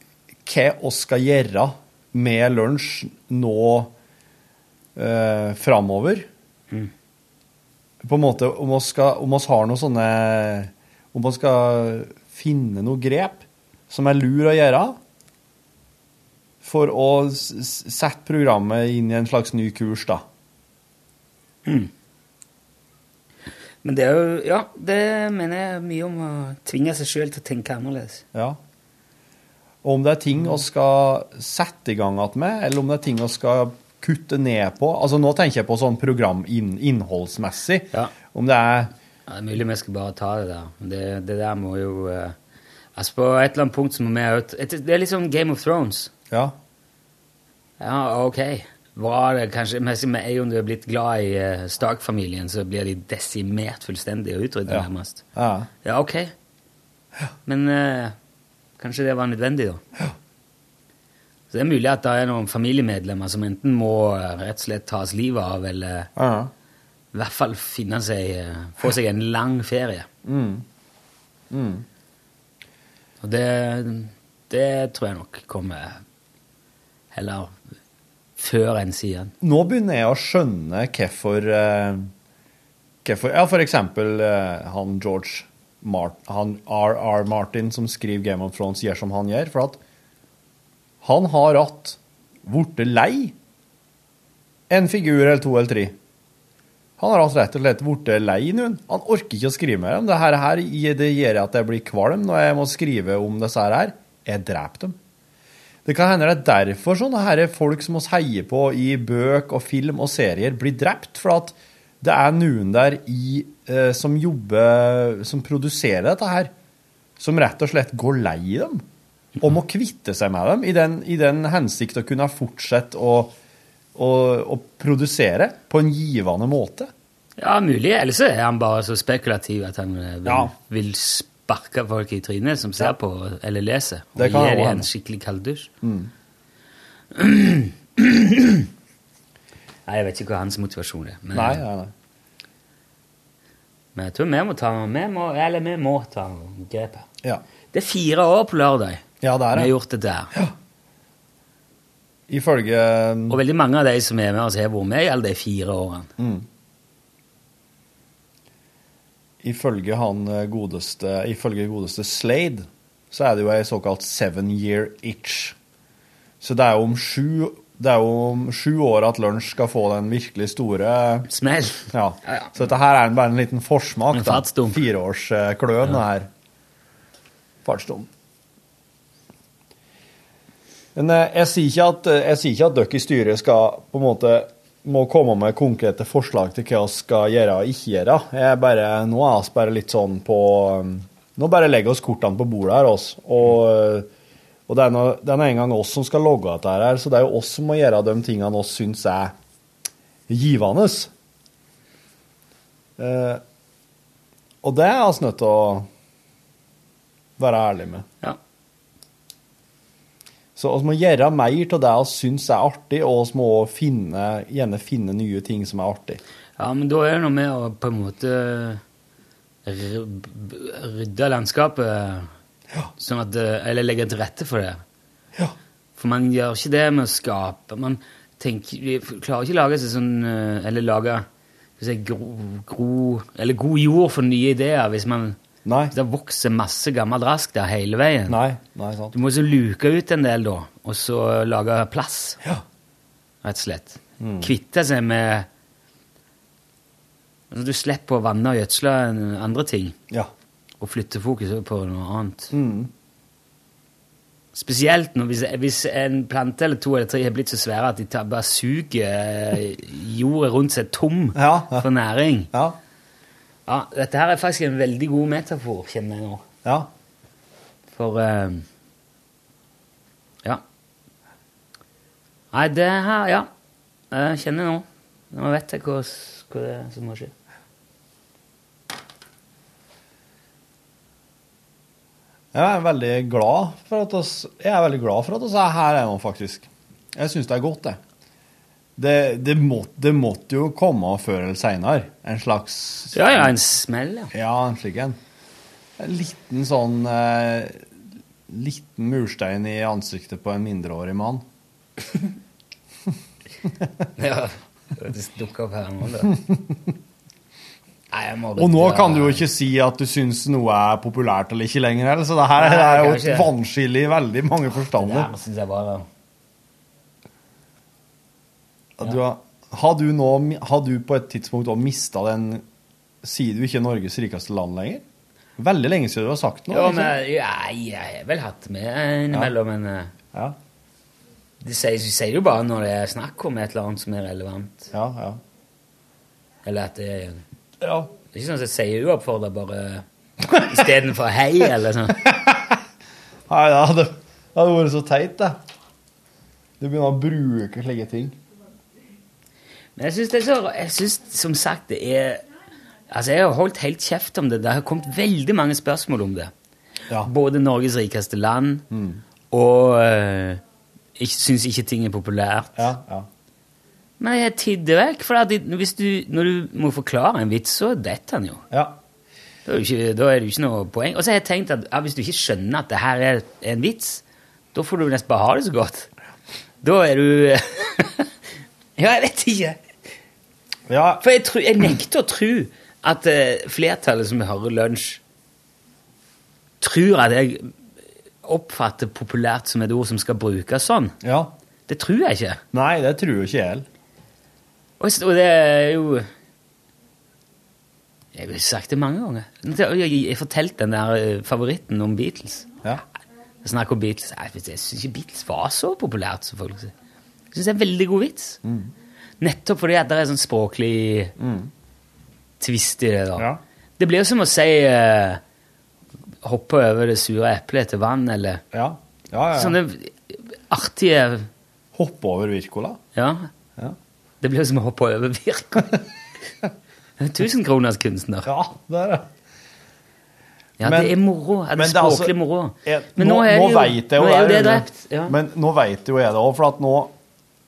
[SPEAKER 4] hva oss skal gjøre med lunsj nå eh, framover.
[SPEAKER 3] Mm.
[SPEAKER 4] På en måte om oss, skal, om oss har noen sånne Om oss skal finne noen grep som er lur å gjøre for å s- s- sette programmet inn i en slags ny kurs, da.
[SPEAKER 3] Men det er jo Ja, det mener jeg mye om å tvinge seg sjøl til å tenke annerledes.
[SPEAKER 4] Ja. Og om det er ting vi skal sette i gang igjen med, eller om det er ting vi skal kutte ned på. Altså Nå tenker jeg på sånn programinnholdsmessig. Om det er
[SPEAKER 3] Ja, det er mulig vi skal bare ta det der. men Det, det der må jo eh, Altså, på et eller annet punkt så må vi ut et- Det er litt sånn Game of Thrones.
[SPEAKER 4] Ja.
[SPEAKER 3] Ja, ok. Var det kanskje Men med en gang du er blitt glad i eh, Stark-familien, så blir de desimert fullstendig og utryddet
[SPEAKER 4] Ja.
[SPEAKER 3] nærmest.
[SPEAKER 4] ja.
[SPEAKER 3] Ja, ok. Men eh, kanskje det var nødvendig, da. Så det er mulig at det er noen familiemedlemmer som enten må eh, rett og slett tas livet av, eller
[SPEAKER 4] Ja.
[SPEAKER 3] i hvert fall finne seg, eh, få seg en lang ferie.
[SPEAKER 4] Mm. Mm.
[SPEAKER 3] Og det, det tror jeg nok kommer heller før enn siden.
[SPEAKER 4] Nå begynner jeg å skjønne hvorfor eh, hvorfor- Ja, for eksempel eh, han George Mart- han R.R. Martin som skriver Game of Thrones, gjør som han gjør. For at han har hatt blitt lei en figur eller to eller tre. Han har altså rett og slett blitt lei noen. Han orker ikke å skrive mer om det her. her det gjør at jeg blir kvalm når jeg må skrive om disse her. Jeg dreper dem. Det kan hende det er derfor sånne her folk som oss heier på i bøk og film og serier, blir drept. For at det er noen der i, eh, som jobber Som produserer dette her, som rett og slett går lei dem. Og må kvitte seg med dem i den, i den hensikt å kunne fortsette å, å, å produsere på en givende måte.
[SPEAKER 3] Ja, mulig. Eller så er han bare så spekulativ at han eh, vil,
[SPEAKER 4] Ja.
[SPEAKER 3] vil sparke folk i trynet som ser på eller leser, og
[SPEAKER 4] Det
[SPEAKER 3] gi
[SPEAKER 4] kan
[SPEAKER 3] dem
[SPEAKER 4] også
[SPEAKER 3] en
[SPEAKER 4] hende.
[SPEAKER 3] skikkelig kalddusj.
[SPEAKER 4] Mm.
[SPEAKER 3] Nei, jeg vet ikke hva hans motivasjon er. Men,
[SPEAKER 4] Nei, nei, nei.
[SPEAKER 3] men jeg tror vi må ta vi må, Eller vi må ta grepet.
[SPEAKER 4] Ja.
[SPEAKER 3] Det er fire år på lørdag
[SPEAKER 4] Ja, det er
[SPEAKER 3] vi har
[SPEAKER 4] det.
[SPEAKER 3] gjort dette her.
[SPEAKER 4] Ifølge eh,
[SPEAKER 3] Og veldig mange av de som er med oss, har vært med i alle de fire årene.
[SPEAKER 4] mm. ifølge han eh, godeste, ifølge godeste Slade, så er det jo ei såkalt seven year itch. Så det er jo om sju, det er jo om sju år at lunsj skal få den virkelig store
[SPEAKER 3] Smell.
[SPEAKER 4] Ja. Så dette her er bare en liten forsmak.
[SPEAKER 3] En
[SPEAKER 4] da.
[SPEAKER 3] fartsdump.
[SPEAKER 4] Fireårskløen
[SPEAKER 3] Ja.
[SPEAKER 4] her. Fartsdump. Men eh, jeg sier ikke at, jeg sier ikke at dere i styret skal på en måte må komme med konkrete forslag til hva vi skal gjøre og ikke gjøre. Jeg er bare, nå er vi bare litt sånn på um, Nå bare legger oss kortene på bordet her, oss. Og, eh, og det er nå det er nå en gang oss som skal logge dette her, så det er jo oss som må gjøre de tingene oss syns er givende. Eh, og det er vi nødt til å være ærlige med. Så vi må gjøre mer av det vi syns er artig, og vi må også finne, gjerne finne nye ting som er artig.
[SPEAKER 3] Ja, men da er det noe med å på en måte r- b- rydde landskapet, sånn at, det- eller legge til rette for det. For man gjør ikke det med å skape. Man tenker, vi klarer ikke å lage seg sånn, eh, eller lage skal vi si, gro, gro, eller god jord for nye ideer hvis man
[SPEAKER 4] Nei.
[SPEAKER 3] Det vokser masse gammel rask der hele veien.
[SPEAKER 4] Nei, nei, sant.
[SPEAKER 3] Du må så luke ut en del, da, og så lage plass. Rett og slett.
[SPEAKER 13] Mm.
[SPEAKER 3] Kvitte seg med Altså, Du slipper å vanne og gjødsle en- andre ting. Og flytte fokuset på noe annet.
[SPEAKER 4] Mm.
[SPEAKER 3] Spesielt når, hvis, hvis en plante eller to eller tre har blitt så svære at de tar, bare suger jorda rundt seg tom for næring.
[SPEAKER 4] Ja.
[SPEAKER 3] Dette her er faktisk en veldig god metafor, kjenner jeg nå.
[SPEAKER 4] Ja.
[SPEAKER 3] For eh, Ja. Nei, det her Ja. Jeg kjenner jeg nå. Nå vet jeg hva, s- hva det er som må skje.
[SPEAKER 4] Jeg er veldig glad for at oss, jeg er veldig glad for at oss er her ennå, faktisk. Jeg syns det er godt, det. Det, det, må, det måtte jo komme før eller seinere. En slags
[SPEAKER 3] Ja, ja, en smell, ja.
[SPEAKER 4] Ja, en slik en. En liten sånn eh, Liten murstein i ansiktet på en mindreårig mann.
[SPEAKER 3] Ja, Det dukker opp her nå, da. Nei, jeg må
[SPEAKER 4] Og nå
[SPEAKER 3] rydde-
[SPEAKER 4] kan du jo ikke si at du syns noe er populært eller ikke lenger, eller, så det her er jo et
[SPEAKER 3] Nei, kanskje.
[SPEAKER 4] vannskille i veldig mange
[SPEAKER 3] Det
[SPEAKER 4] forstander.
[SPEAKER 3] her synes jeg bare
[SPEAKER 4] Du har, har, du nå, har du på et tidspunkt òg mista den Sier du ikke er Norges rikeste land lenger? Veldig lenge siden du har sagt noe.
[SPEAKER 3] Jo,
[SPEAKER 4] ikke?
[SPEAKER 3] men ja, jeg har vel hatt det med innimellom, men eh, Det sies vi sier jo bare når det er snakk om et eller annet som er relevant.
[SPEAKER 4] Ja, ja.
[SPEAKER 3] Eller at det er
[SPEAKER 4] Ja.
[SPEAKER 3] Det er ikke sånn at jeg sier uoppfordra bare istedenfor hei, eller sånn.
[SPEAKER 4] Nei, det hadde, det hadde vært så teit, det. Du begynner å bruke slike ting.
[SPEAKER 3] Men jeg syns det er så Jeg synes, som sagt, det er Altså, jeg har holdt helt kjeft om det. Det har kommet veldig mange spørsmål om det. Ah. Både Norges rikeste land og eh, Jeg syns ikke ting er populært. Men jeg tidde vekk, for at det- hvis du, når du må forklare en vits, så detter den jo. Da er det jo ikke, da er det jo ikke noe poeng. Og så har jeg tenkt at ja, hvis du ikke skjønner at det her er en vits, da får du nesten bare ha det så godt. Da er du Ja, jeg vet ikke. For jeg, tror- jeg nekter å tro at eh, flertallet som hører lunsj, tror at jeg oppfatter populært som et ord som skal brukes sånn. Det tror jeg ikke.
[SPEAKER 4] Nei, det tror jo ikke jeg heller.
[SPEAKER 3] Og s- og det er jo Jeg har sagt det mange ganger. Jeg, jeg, jeg fortalte den der eh, favoritten om Beatles. Jeg snakker om Beatles. Jeg, vet- jeg syns ikke Beatles var så populært som folk sier. Jeg syns det er en veldig god vits.
[SPEAKER 4] Mm.
[SPEAKER 3] Nettopp fordi at det er sånn språklig tvist i det. da. Det blir jo som å si eh, Hoppe over det sure eplet til vann, eller
[SPEAKER 4] ja, ja.
[SPEAKER 3] Sånne artige
[SPEAKER 4] Hoppe over Wirkola?
[SPEAKER 3] Ja. Det blir jo som å hoppe over Wirkola. Tusenkronerskunstner.
[SPEAKER 4] Ja, det er det.
[SPEAKER 3] Ja, det er moro. Ja, det er språklig moro.
[SPEAKER 4] jeg-
[SPEAKER 3] Men nå
[SPEAKER 4] altså- nå, nå,
[SPEAKER 3] er det jo-
[SPEAKER 4] vet jeg jo
[SPEAKER 3] nå er jo det
[SPEAKER 4] Rune.
[SPEAKER 3] drept, ja.
[SPEAKER 4] Men nå vet jo jeg det òg, for at nå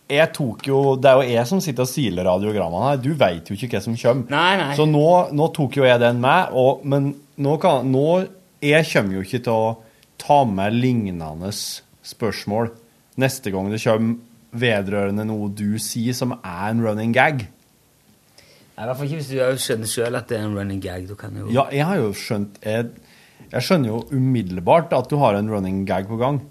[SPEAKER 4] jeg tok jo, Det er jo jeg som sitter og siler radiogrammene her. Du vet jo ikke hva som kommer.
[SPEAKER 3] Nei, nei.
[SPEAKER 4] Så nå, nå tok jo jeg den med, og, men nå kan nå, Jeg kommer jo ikke til å ta med lignende spørsmål neste gang det kommer vedrørende noe du sier som er en running gag.
[SPEAKER 3] Nei, I hvert fall ikke hvis du også skjønner sjøl at det er en running gag. Du kan jo...
[SPEAKER 4] Ja, jeg har jo skjønt jeg, jeg skjønner jo umiddelbart at du har en running gag på gang.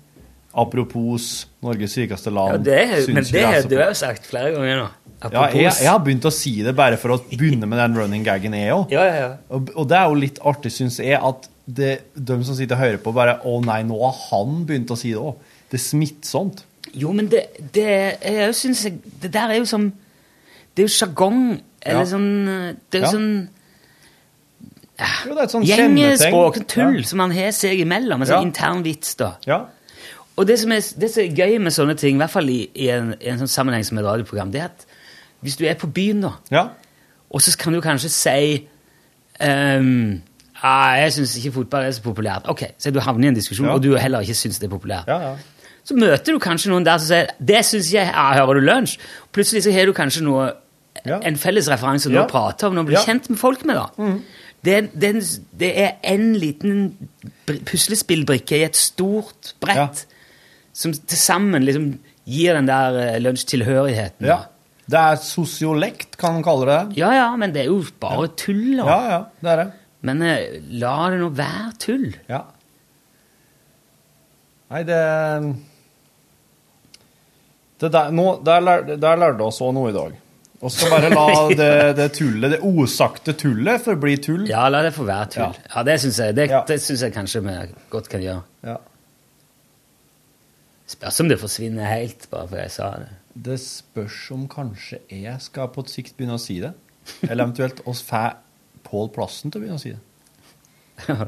[SPEAKER 4] Apropos Norges rikeste land.
[SPEAKER 3] Ja, det er,
[SPEAKER 4] syns
[SPEAKER 3] men
[SPEAKER 4] ikke
[SPEAKER 3] det
[SPEAKER 4] jeg
[SPEAKER 3] har
[SPEAKER 4] så
[SPEAKER 3] du
[SPEAKER 4] på-
[SPEAKER 3] jo sagt flere ganger nå.
[SPEAKER 4] Ja,
[SPEAKER 3] Apropos.
[SPEAKER 4] jeg, jeg har begynt å si det bare for å begynne med den running gaggen jeg òg.
[SPEAKER 3] Ja, ja, ja.
[SPEAKER 4] Og, og det er jo litt artig, syns jeg, at det, de som sitter og hører på, bare Å nei, nå har han begynt å si det òg. Det er smittsomt.
[SPEAKER 3] Jo, men det, det er jo, synes jeg, det der er jo som Det er jo sjargong. Eller
[SPEAKER 4] Ja.
[SPEAKER 3] sånn Det er jo
[SPEAKER 4] Ja.
[SPEAKER 3] sånn
[SPEAKER 4] Jo, det er et sånt
[SPEAKER 3] Gjengespråk,
[SPEAKER 4] kjennetegn.
[SPEAKER 3] tull, som man har seg imellom. En sånn
[SPEAKER 4] Ja.
[SPEAKER 3] intern vits, da.
[SPEAKER 4] Ja.
[SPEAKER 3] Og det som, er, det som er gøy med sånne ting, i hvert fall i, i, en, i en sånn sammenheng som et radioprogram, det er at hvis du er på byen, da, og så kan du kanskje si ehm, ah, 'Jeg syns ikke fotball er så populært.' Ok, så du havner i en diskusjon,
[SPEAKER 14] Ja.
[SPEAKER 3] og du heller ikke syns det er populært. Så møter du kanskje noen der som sier 'Det syns jeg ah, Hører du lunsj?' Plutselig så har du kanskje noe, en felles referanse du
[SPEAKER 14] Ja.
[SPEAKER 3] prater om og blir
[SPEAKER 14] Ja.
[SPEAKER 3] kjent med folk med. da. Det, er- det, er en- det er en liten br- puslespillbrikke i et stort brett som til sammen liksom gir den der eh, lunsjtilhørigheten.
[SPEAKER 4] Ja. Det er sosiolekt, kan man kalle det.
[SPEAKER 3] Ja, ja, men det er jo bare tull. da.
[SPEAKER 4] Ja, ja, det er det.
[SPEAKER 3] Men eh, la det nå være tull.
[SPEAKER 4] Ja. Nei, det det der, nå, der, lær, der lærte oss også noe i dag. Og skal bare la det, det tullet, det osagte tullet, forbli tull.
[SPEAKER 3] Ja, la det få være tull. Ja, det syns jeg, det, det synes jeg kanskje vi godt kan gjøre.
[SPEAKER 4] Ja.
[SPEAKER 3] Spørs om det forsvinner helt, bare fordi jeg sa det.
[SPEAKER 4] Det spørs om kanskje jeg skal på et sikt begynne å si det. Eller eventuelt oss får Pål Plassen til å begynne å si det.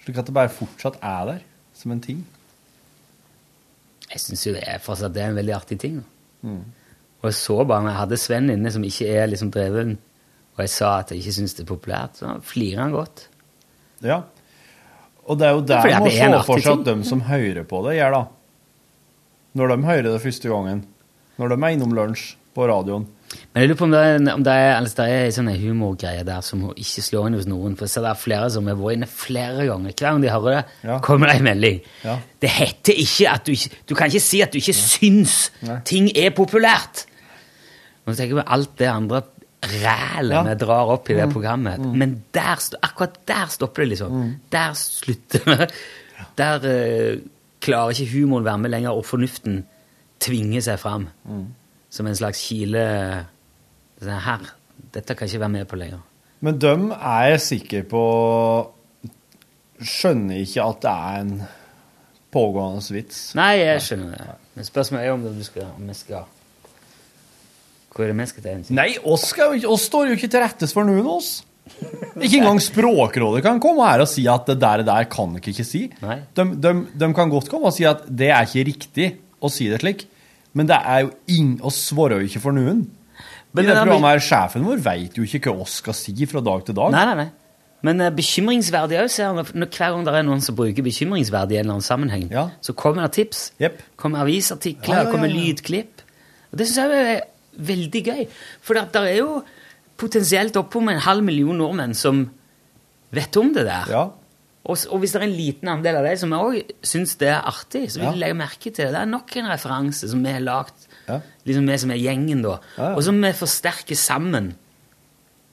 [SPEAKER 4] Slik at det bare fortsatt er der, som en ting.
[SPEAKER 3] Jeg syns jo det er fortsatt det er en veldig artig ting. Da. Og jeg så bare når jeg hadde Sven inne, som ikke er liksom dreven, og jeg sa at jeg ikke syns det er populært, så flirer han godt.
[SPEAKER 4] Ja. Og det er jo
[SPEAKER 3] Ja,
[SPEAKER 4] der
[SPEAKER 3] fordi at
[SPEAKER 4] man må
[SPEAKER 3] det er en
[SPEAKER 4] se for
[SPEAKER 3] artig
[SPEAKER 4] seg at de
[SPEAKER 3] ting.
[SPEAKER 4] som hører på det, gjør da. Når de hører det første gangen. Når de er innom lunsj på radioen.
[SPEAKER 3] Men jeg lurer på om det er, en- om det er, altså det er en sånn humorgreie der som ikke slår inn hos noen. For jeg ser det er flere som har vært inne flere ganger. Hver gang de hører det, kommer det en melding.
[SPEAKER 4] Ja.
[SPEAKER 3] Det heter ikke at du ikke Du kan ikke si at du ikke syns ting er populært! Nå tenker jeg på alt det andre rælet
[SPEAKER 14] Ja.
[SPEAKER 3] vi drar opp i det
[SPEAKER 14] Mm.
[SPEAKER 3] programmet.
[SPEAKER 14] Mm.
[SPEAKER 3] Men der, sto- akkurat der stopper det, liksom. Der slutter vi. Der eh, klarer ikke humoren være med lenger, og fornuften tvinger seg fram.
[SPEAKER 14] Mm.
[SPEAKER 3] Som en slags kile sånn Her, dette kan jeg ikke være med på lenger.
[SPEAKER 4] Men dem er jeg sikker på Skjønner ikke at det er en pågående vits.
[SPEAKER 3] Nei, jeg skjønner det. Men spørsmålet er om du skal, om jeg skal Hvor er det vi skal til? egentlig?
[SPEAKER 4] Nei, oss, skal, jo ikke- oss står jo ikke til rettes for noen av oss. Ikke engang Språkrådet kan komme her og si at det der, der kan dere ikke si. De, de, de kan godt komme og si at det er ikke riktig å si det slik, men det er jo ing, oss svarer jo ikke for noen.
[SPEAKER 3] Men
[SPEAKER 4] I
[SPEAKER 3] det
[SPEAKER 4] det
[SPEAKER 3] er
[SPEAKER 4] programmet her, Sjefen vår vet jo ikke hva oss skal si fra dag til dag.
[SPEAKER 3] Nei, nei, nei. Men eh, bekymringsverdig òg, ser jeg. Når, hver gang det er noen som bruker bekymringsverdig i en eller annen sammenheng, så kommer det tips. Kommer avisartikler,
[SPEAKER 14] Ja, ja, ja,
[SPEAKER 3] kommer
[SPEAKER 14] ja.
[SPEAKER 3] lydklipp. Og det syns jeg er veldig gøy. For det, der er jo potensielt oppom en halv million nordmenn som vet om det der. Og, s- og hvis det er en liten andel av dem som òg syns det er artig, så vil
[SPEAKER 14] Ja.
[SPEAKER 3] de legge merke til det. Det er nok en referanse som vi har lagd,
[SPEAKER 14] Ja.
[SPEAKER 3] liksom vi som er gjengen, da.
[SPEAKER 14] Ja, ja.
[SPEAKER 3] Og som vi forsterker sammen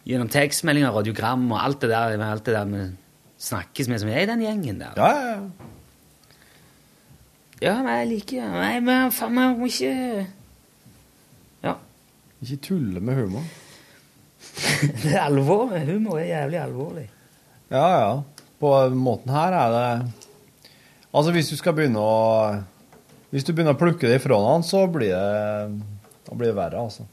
[SPEAKER 3] gjennom tekstmeldinger, radiogram og alt det der, alt det der vi snakkes med som er i den gjengen der.
[SPEAKER 4] Ja, ja, ja.
[SPEAKER 3] Ja, nei, jeg liker Nei, men faen, man må ikke
[SPEAKER 4] Ikke tulle med humor.
[SPEAKER 3] Det er alvor. Humor er jævlig alvorlig.
[SPEAKER 4] Ja, ja. På den måten her er det Altså, hvis du skal begynne å Hvis du begynner å plukke det ifra hverandre, så blir det Da blir det verre, altså.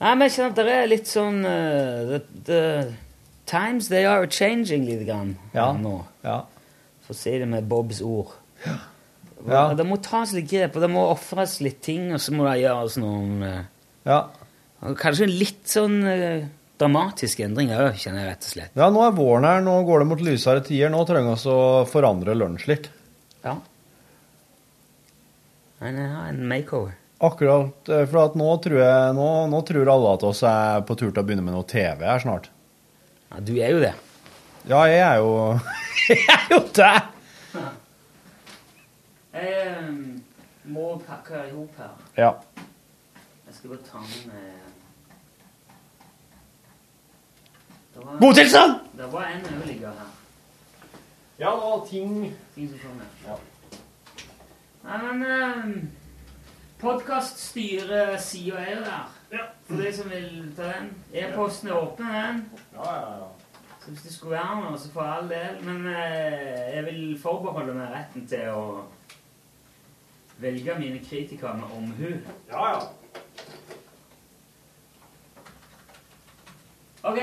[SPEAKER 3] Nei, men jeg kjenner at det er litt sånn eh, the, the times they are changing litt grann
[SPEAKER 14] Ja,
[SPEAKER 3] nå.
[SPEAKER 4] Ja.
[SPEAKER 3] For å si det med Bobs ord.
[SPEAKER 14] Ja.
[SPEAKER 3] Det må tas litt grep, og det må ofres litt ting, og så må det gjøres noen eh, og Kanskje en litt sånn eh, dramatisk endring òg, kjenner jeg rett og slett.
[SPEAKER 4] Ja, nå er våren her, nå går det mot lysere tider. Nå trenger vi å forandre lunsj litt.
[SPEAKER 3] Ja. En, ja, en makeover.
[SPEAKER 4] Akkurat, eh, for at nå tror jeg nå, nå tror alle at oss er på tur til å begynne med noe TV her snart.
[SPEAKER 3] Ja, du er jo det.
[SPEAKER 4] Ja, jeg er jo Jeg er jo det!
[SPEAKER 3] Jeg eh, må pakke i hop her.
[SPEAKER 4] Ja.
[SPEAKER 3] Jeg skal bare ta med
[SPEAKER 15] God tilstand!
[SPEAKER 3] Det var en overligger her.
[SPEAKER 4] Ja, det var ting
[SPEAKER 3] Ting som kom med. Nei, men eh, Podkast styrer sida er jo der. For de som vil ta den. E-posten er åpen, den. Så hvis det skulle være noe, så for all del. Men eh, jeg vil forbeholde meg retten til å velge mine kritikere med omhu.
[SPEAKER 4] Ja, ja.
[SPEAKER 3] OK.